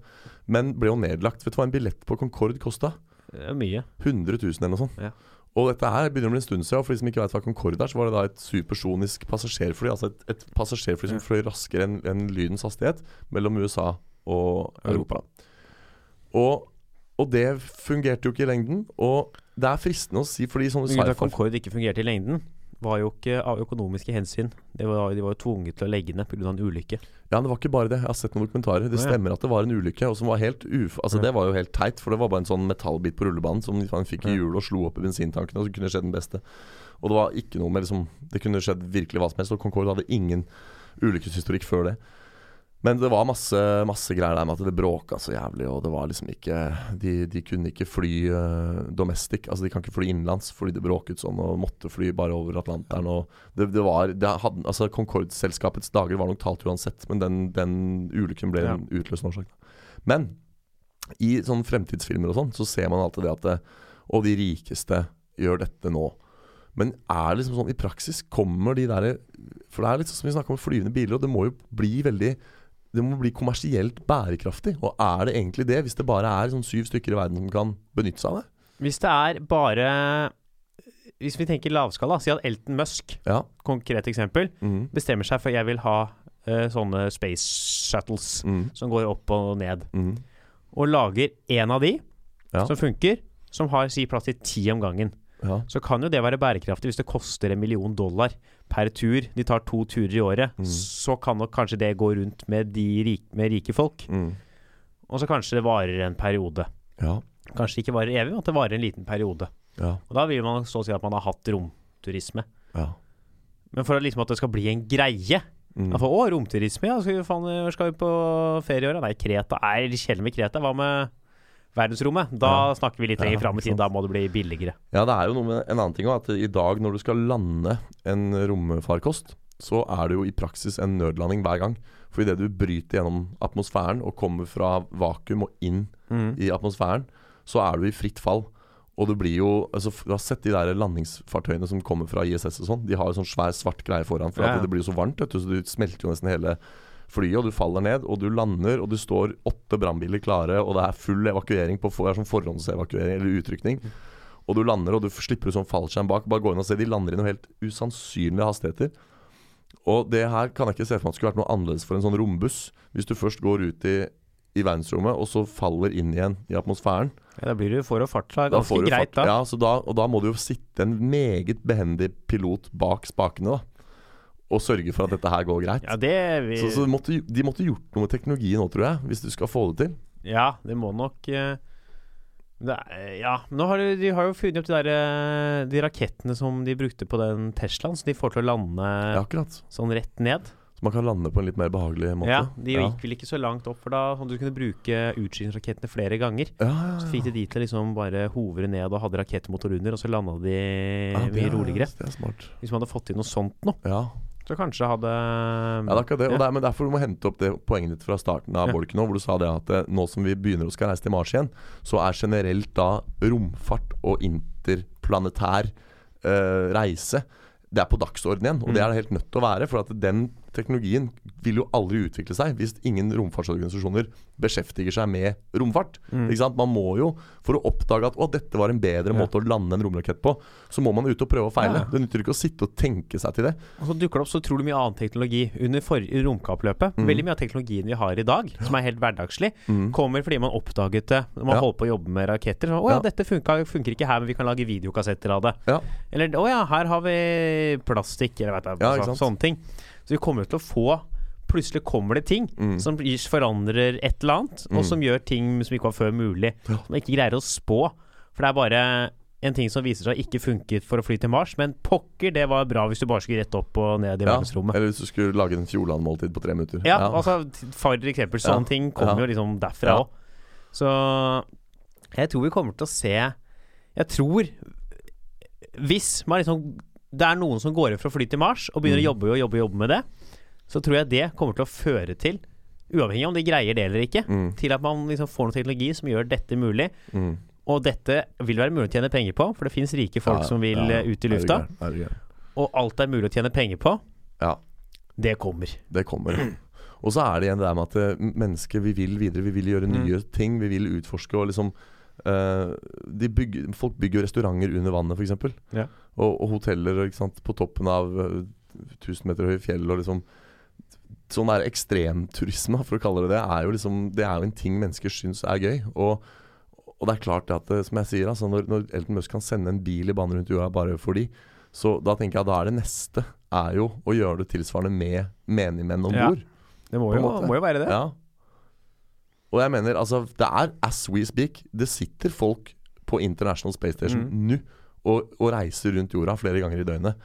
S3: men ble jo nedlagt. Vet du hva en billett på Concorde kosta?
S2: Det er mye.
S3: 100 000 eller noe sånt.
S2: Ja.
S3: Og dette her begynner å bli en stund siden. Og for de som ikke vet hva Concorde er, så var det da et supersonisk passasjerfly. Altså et, et passasjerfly
S2: Ja.
S3: som fløy raskere enn enn lydens hastighet mellom USA og
S2: Europa.
S3: Europa. Og, og det fungerte jo ikke i lengden. Og det er fristende å si, fordi sånne
S2: Grunnen til at
S3: sci-fi
S2: Concorde ikke fungerte i lengden, var jo ikke av økonomiske hensyn. Det var, de var jo tvunget til å legge ned pga. en ulykke.
S3: Ja, det var ikke bare det. Jeg har sett noen dokumentarer. Det
S2: Å, ja.
S3: stemmer at det var en ulykke. Og som var helt uf altså,
S2: Ja.
S3: Det var jo helt teit, for det var bare en sånn metallbit på rullebanen som han fikk i
S2: Ja.
S3: hjulet og slo opp i bensintankene, og så kunne det skjedd den beste. Og det var ikke noe med liksom Det kunne skjedd virkelig hva som helst, og Concorde hadde ingen ulykkeshistorikk før det. Men det var masse, masse greier der med at det bråka så jævlig, og det var liksom ikke De, de kunne ikke fly eh, domestic, altså de kan ikke fly innenlands fordi det bråket sånn, og måtte fly bare over Atlanteren og det, det var det hadde, altså Concorde-selskapets dager var nok talt uansett, men den, den ulykken ble
S2: Ja.
S3: en utløsende årsak. Men i sånne fremtidsfilmer og sånn, så ser man alltid det at det, Og de rikeste gjør dette nå. Men er det liksom sånn i praksis kommer de derre For det er litt sånn som vi snakker om flyvende biler, og det må jo bli veldig det må bli kommersielt bærekraftig. Og er det egentlig det, hvis det bare er sånn syv stykker i verden som kan benytte seg av det?
S2: Hvis det er bare Hvis vi tenker lavskala, si at Elton Musk,
S3: Ja.
S2: konkret eksempel,
S3: Mhm.
S2: bestemmer seg for jeg vil ha eh, sånne space shuttles
S3: Mhm.
S2: som går opp og ned,
S3: Mhm.
S2: og lager én av de
S3: Ja.
S2: som funker, som har si plass til ti om gangen.
S3: Ja.
S2: så kan jo det være bærekraftig hvis det koster en million dollar per tur. De tar to turer i året.
S3: Mm.
S2: Så kan nok kanskje det gå rundt med, de rik, med rike folk.
S3: Mhm.
S2: Og så kanskje det varer en periode.
S3: ja.
S2: Kanskje det ikke varer evig, men at det varer en liten periode.
S3: Ja.
S2: Og da vil man så si at man har hatt romturisme.
S3: Ja.
S2: Men for at, liksom, at det skal bli en greie
S3: Mhm.
S2: ja, for, Å, romturisme, ja. Skal vi, faen, hvor skal vi på ferie i år? da? Nei, Kreta. Nei, litt kjedelig med Kreta. Hva med verdensrommet? Da
S3: Ja.
S2: snakker vi litt
S3: Ja,
S2: lenger fram
S3: ikke
S2: i tid. Da må det bli billigere.
S3: Ja, det er jo noe med en annen ting òg. At i dag når du skal lande en romfarkost, så er det jo i praksis en nødlanding hver gang. For idet du bryter gjennom atmosfæren og kommer fra vakuum og inn
S2: Mm.
S3: i atmosfæren, så er du i fritt fall. Og du blir jo altså, f- Du har sett de der landingsfartøyene som kommer fra ISS og sånn. De har jo sånn svær svart greie foran, for
S2: Ja, ja.
S3: at det blir jo så varmt, vet du, så du smelter jo nesten hele flyet. Og du faller ned, og du lander, og du står åtte brannbiler klare, og det er full evakuering på for, det er sånn forhåndsevakuering eller utrykning. Og du lander, og du f- slipper ut sånn fallskjerm bak. Bare gå inn og se. De lander i noen helt usannsynlige hastigheter. Og det her kan jeg ikke se for meg at skulle vært noe annerledes for en sånn rombuss. Hvis du først går ut i, i verdensrommet, og så faller inn igjen i atmosfæren.
S2: Ja, da blir du får og farta
S3: Da får
S2: ganske
S3: du
S2: greit,
S3: fart-
S2: da.
S3: Ja, så da. Og da må det jo sitte en meget behendig pilot bak spakene, da. Og sørge for at dette her går greit.
S2: Ja, det vil...
S3: Så, så de, måtte, de måtte gjort noe med teknologien nå, tror jeg. Hvis du skal få det til.
S2: Ja, det må nok eh, det er, eh, Ja, men nå har de, de har jo funnet opp de, der, eh, de rakettene som de brukte på den Teslaen, så de får til å lande
S3: Ja, akkurat.
S2: sånn rett ned.
S3: Så man kan lande på en litt mer behagelig måte.
S2: Ja, De gikk vel ikke så langt opp, for da sånn at du kunne bruke utskytingsrakettene flere ganger.
S3: Ja, ja, ja.
S2: Så fikk de de til liksom bare hovre ned og hadde rakettmotor under, og så landa de
S3: Ja,
S2: eh, mye
S3: Ah, det er- altså-
S2: roligere.
S3: Det er smart.
S2: Hvis man hadde fått til noe sånt nå,
S3: Ja.
S2: så kanskje hadde um,
S3: Ja, det er akkurat det.
S2: Mm.
S3: Og
S2: Ja.
S3: det er, men derfor du må hente opp det poenget ditt fra starten av
S2: Ja.
S3: bolken nå, hvor du sa det at eh, nå som vi begynner å skal reise til Mars igjen, så er generelt da romfart og interplanetær eh, reise det er på dagsordenen igjen, og
S2: Mm.
S3: det er det helt nødt til å være. For at den teknologien vil jo aldri utvikle seg hvis ingen romfartsorganisasjoner beskjeftiger seg med romfart. Ikke sant? Man må jo, for å oppdage at å, dette var en bedre
S2: Mm. Ja.
S3: måte å lande en romrakett på, så må man ut og prøve og feile.
S2: Ja.
S3: Det nytter ikke å sitte og tenke seg til det.
S2: Og så dukker det opp så utrolig mye annen teknologi under for, i romkappløpet.
S3: Mm.
S2: Veldig mye av teknologien vi har i dag, som er helt hverdagslig, kommer fordi man oppdaget det når man
S3: Ja.
S2: holdt på å jobbe med raketter. Så, 'Å ja,
S3: Ja.
S2: dette funka, funker ikke her, men vi kan lage videokassetter av det.'
S3: Ja.
S2: Eller 'Å ja, her har vi plastikk', eller vet jeg,
S3: Ja,
S2: så,
S3: ikke sant?
S2: sånne ting. Så vi kommer til å få Plutselig kommer det ting
S3: Mm.
S2: som forandrer et eller annet, og som gjør ting som ikke var før mulig. Som man ikke greier å spå. For det er bare en ting som viser seg ikke funket for å fly til Mars, men pokker, det var bra hvis du bare skulle rett opp og ned i verdensrommet.
S3: Eller hvis du skulle lage en Fjordland-måltid på tre minutter.
S2: Ja, altså t- for eksempel sånne
S3: Ja.
S2: ting kommer jo
S3: Ja.
S2: liksom derfra
S3: Ja.
S2: òg. Så jeg tror vi kommer til å se Jeg tror Hvis man liksom det er noen som går inn for å fly til Mars og begynner å
S3: Mm.
S2: jobbe og jobbe, og jobbe med det, så tror jeg det kommer til å føre til, uavhengig om de greier det eller ikke,
S3: Mm.
S2: til at man liksom får noe teknologi som gjør dette mulig.
S3: Mm.
S2: Og dette vil være mulig å tjene penger på, for det fins rike folk
S3: Ja,
S2: som vil
S3: ja,
S2: eh, ut i
S3: er du
S2: lufta.
S3: gæren, er du gæren.
S2: Og alt det er mulig å tjene penger på,
S3: Ja,
S2: det kommer.
S3: det kommer. Og så er det igjen det der med at eh, mennesker, vi vil videre. Vi vil gjøre
S2: Mm.
S3: nye ting. Vi vil utforske og liksom eh, de bygger, Folk bygger jo restauranter under vannet, f.eks.
S2: Ja.
S3: Og, og hoteller ikke sant, på toppen av eh, 1000 meter høye fjell og liksom Sånn der ekstremturisme, for å kalle det det, er jo liksom Det er jo en ting mennesker syns er gøy. Og og det er klart det at, eh, som jeg sier, altså, når, når Elton Musk kan sende en bil i bane rundt jorda bare for de, så da tenker jeg da er det neste er jo å gjøre det tilsvarende med menigmenn om
S2: Ja,
S3: bord.
S2: Det må
S3: På en
S2: jo,
S3: måte.
S2: må jo være
S3: Ja.
S2: det.
S3: Og jeg mener, altså, det er as we speak, det sitter folk på International Space Station nå og, og reiser rundt jorda flere ganger i døgnet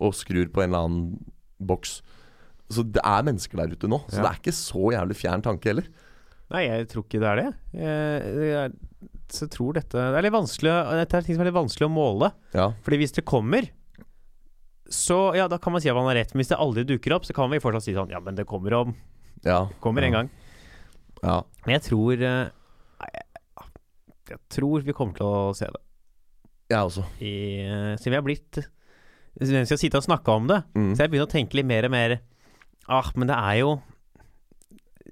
S3: og skrur på en eller annen boks. Så det er mennesker der ute nå. Så
S2: Ja.
S3: det er ikke så jævlig fjern tanke heller.
S2: Nei, jeg tror ikke det er det. Jeg, jeg, så tror dette Det er litt vanskelig å- Dette er ting som er litt vanskelig å måle.
S3: Ja.
S2: Fordi hvis det kommer, så ja, da kan man si at man har rett. Men hvis det aldri dukker opp, så kan vi fortsatt si sånn Ja, men det kommer om
S3: ja.
S2: Kommer en gang.
S3: Ja.
S2: Men jeg tror eh, nei, jeg- Jeg tror vi kommer til å se det.
S3: Jeg også.
S2: I, eh, siden vi har blitt Siden vi skal sitte og snakke om det,
S3: Mm.
S2: så jeg begynner å tenke litt mer og mer Ah, men det er jo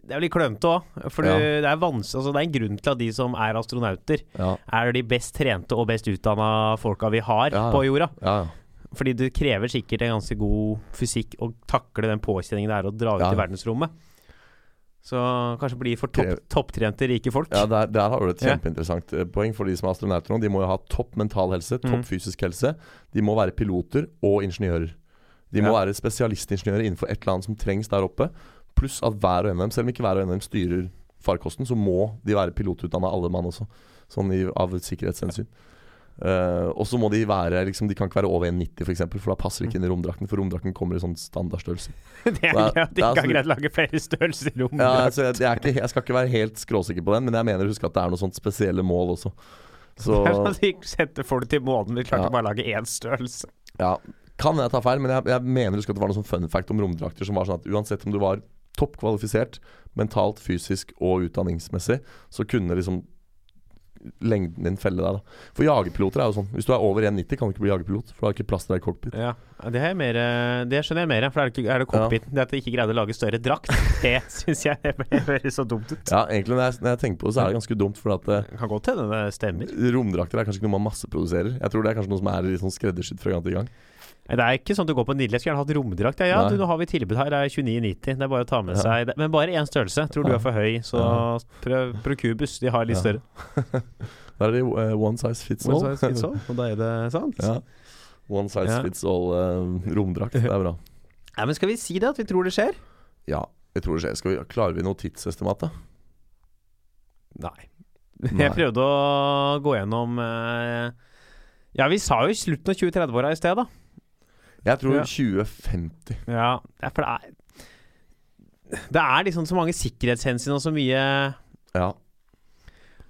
S2: Det er jo litt klønete òg. For
S3: Ja.
S2: det, er vans- altså, det er en grunn til at de som er astronauter,
S3: Ja.
S2: er de best trente og best utdanna folka vi har
S3: Ja, ja.
S2: på jorda.
S3: Ja, ja.
S2: Fordi det krever sikkert en ganske god fysikk å takle den påkjenningen det er å dra ut
S3: Ja.
S2: i verdensrommet. Så kanskje bli for
S3: Krever-
S2: topp, topptrente rike folk.
S3: Ja, der, der har du et
S2: Ja.
S3: kjempeinteressant eh, poeng for de som er astronauter nå. De må jo ha topp mental helse, topp
S2: Mm.
S3: fysisk helse. De må være piloter og ingeniører. De må
S2: Ja.
S3: være spesialistingeniører innenfor et eller annet som trengs der oppe. Pluss at hver og en av dem, selv om ikke hver og en av dem styrer farkosten, så må de være pilotutdanna alle mann også, sånn i, av sikkerhetshensyn. Eh, og så må de være liksom, De kan ikke være over 1,90 f.eks., for, eksempel, for da passer
S2: Mm.
S3: de ikke inn i romdrakten. For romdrakten kommer i sånn standardstørrelse.
S2: det er
S3: det er-
S2: gøy at
S3: det
S2: de
S3: er
S2: ikke har
S3: så-
S2: greid å lage flere størrelser i rommet.
S3: Ja, altså, jeg, jeg, er ikke, jeg skal ikke være helt skråsikker på den, men jeg mener å huske at det er noen sånt spesielle mål også. Så
S2: Det er sånn at de sendte folk til månen, men de klarte
S3: Ja.
S2: bare å lage én størrelse.
S3: ja, kan jeg ta feil, men jeg, jeg mener å huske at det var noen sånn fun fact om romdrakter som var sånn at uansett om du var toppkvalifisert mentalt, fysisk og utdanningsmessig, så kunne liksom lengden din felle deg. da For jagerpiloter er jo sånn. Hvis du er over 1,90 kan du ikke bli jagerpilot, for du har ikke plass til deg i cockpit.
S2: Ja, det, er mer, eh, det skjønner jeg mer, for det er, det ikke, er det cockpiten. Det at de ikke greide å lage større drakt, det syns jeg det ble- høres så dumt ut.
S3: Ja, egentlig når jeg, når jeg tenker på det, så er det ganske dumt, for at eh,
S2: Kan godt hende det stemmer.
S3: romdrakter er kanskje ikke noe man masseproduserer. Jeg tror det er kanskje noe som er litt sånn skreddersydd fra gang til gang.
S2: Nei, Det er ikke sånn at du går på Nidle og skulle gjerne hatt romdrakt. Ja, ja
S3: Nei.
S2: du, nå har vi tilbud her, det er 29,90. Det er bare å ta med
S3: Ja.
S2: seg det. Men bare én størrelse. Tror du
S3: Ja.
S2: er for høy, så
S3: Ja.
S2: prøv Procubus. De har litt
S3: Ja.
S2: større.
S3: Da er det jo, eh, one size fits all.
S2: One size fits all, Og da er det sant?
S3: Ja. One size
S2: Ja.
S3: fits all eh, romdrakt. Det er bra.
S2: Nei, men skal vi si det, at vi tror det skjer?
S3: Ja, jeg tror det skjer. Skal vi, klarer vi noe tidsestimat, da?
S2: Nei.
S3: Nei.
S2: Jeg prøvde å gå gjennom eh, Ja, vi sa jo slutten av 2030-åra i sted, da.
S3: Jeg tror
S2: Ja.
S3: 2050.
S2: Ja, det er for det er Det er liksom så mange sikkerhetshensyn og så mye
S3: Ja.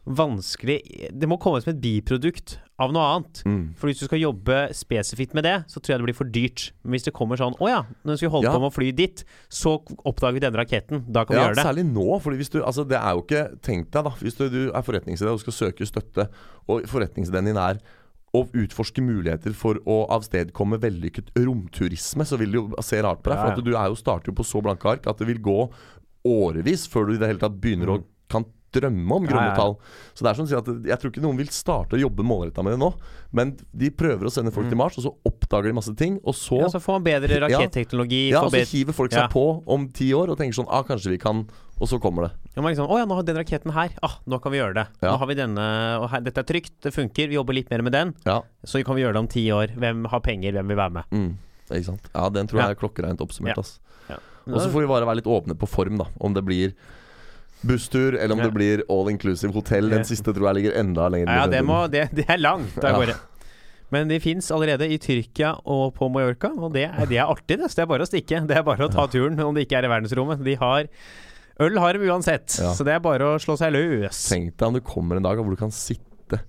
S2: vanskelig Det må komme som et biprodukt av noe annet.
S3: Mm.
S2: For hvis du skal jobbe spesifikt med det, så tror jeg det blir for dyrt. Men hvis det kommer sånn 'Å ja, nå skal vi holde
S3: Ja.
S2: på med å fly dit', så oppdager vi denne raketten. Da kan vi
S3: Ja,
S2: gjøre det.
S3: særlig nå. Fordi hvis du, altså det er jo ikke Tenk deg, da. Hvis du, du er forretningsidé og skal søke støtte, og forretningsideen din er å utforske muligheter for å avstedkomme vellykket romturisme, så vil det jo se rart på deg.
S2: Ja, ja.
S3: For at du er jo, starter jo på så blanke ark at det vil gå årevis før du i det hele tatt begynner å kan drømme om
S2: Mm. Ja, ja,
S3: grønne
S2: ja.
S3: tall. Så det er som å si at Jeg tror ikke noen vil starte å jobbe målretta med det nå, men de prøver å sende folk til Mars, og så oppdager de masse ting, og så
S2: Mm. Ja, så får man bedre
S3: Ja.
S2: raketteknologi.
S3: Ja,
S2: får
S3: altså, og så
S2: bedre-
S3: hiver folk
S2: Ja.
S3: seg på om ti år og tenker sånn Ah, kanskje vi kan Og så kommer det.
S2: Ja, man liksom, Å ja, nå har vi den raketten her. Ah, nå kan vi gjøre det.
S3: Ja.
S2: Nå har vi denne, og her, dette er trygt, det funker. Vi jobber litt mer med den.
S3: Ja,
S2: Så kan vi gjøre det om ti år. Hvem har penger, hvem vil være med?
S3: mm. ikke sant. Ja, den tror
S2: Ja.
S3: jeg er klokkereint oppsummert,
S2: Ja.
S3: ass. Og så får vi bare være litt åpne på form, da. Om det blir busstur, eller om
S2: Ja.
S3: det blir all inclusive hotell.
S2: Ja.
S3: Den siste tror jeg ligger enda lenger
S2: ja, ja,
S3: i
S2: det,
S3: fremtiden.
S2: må, det, det er langt av
S3: Ja.
S2: gårde. Men de fins allerede i Tyrkia og på Mallorca, og det er, det er artig. Det. Så det er bare å stikke. Det er bare å ta turen om det ikke er i verdensrommet. De har Øl har de uansett,
S3: Ja.
S2: så det er bare å slå seg løs.
S3: Tenk deg om du kommer en dag hvor du kan sitte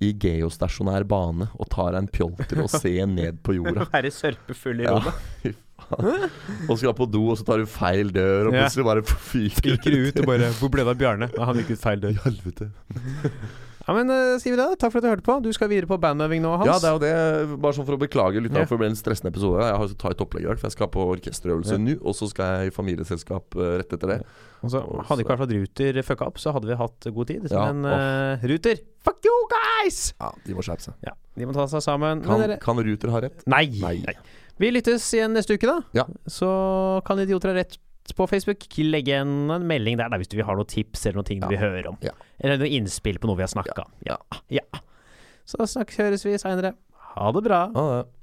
S3: i geostasjonær bane og ta deg en pjolter og se ned på jorda.
S2: Være sørpefull i
S3: Ja.
S2: rommet.
S3: Fy faen. Og skal på do, og så tar du feil dør, og
S2: Ja.
S3: plutselig bare fyker
S2: Gikk ut og bare 'Hvor ble det av Bjarne?' Nei, han gikk ut feil dør.
S3: Helvete.
S2: Ja, men eh, sier vi det? Takk for at du hørte på. Du skal videre på bandøving nå, Hans.
S3: Ja, det er jo det. Bare sånn for å beklage lytterne, for det ble en stressende episode. Jeg har tight opplegg i dag, for jeg skal på orkesterøvelse
S2: Ja.
S3: nå. Og så skal jeg i familieselskap eh, rett etter det.
S2: Og så hadde ikke i hvert fall Ruter fucka opp, så hadde vi hatt god tid.
S3: Ja,
S2: Men eh, Ruter, fuck you guys!
S3: Ja, De må skjerpe seg.
S2: Ja, de må ta seg sammen. Men
S3: Kan,
S2: dere...
S3: kan Ruter ha rett?
S2: nei, nei.
S3: Nei.
S2: Vi lyttes igjen neste uke, da.
S3: Ja.
S2: Så kan idioter ha rett på Facebook. Legge en, en melding der, da, hvis du vil ha noen tips eller noen ting du vil høre om.
S3: Ja.
S2: Eller noen innspill på noe vi har snakka om. Ja. ja. Så snakkes, høres vi seinere. Ha det bra.
S3: Ha det.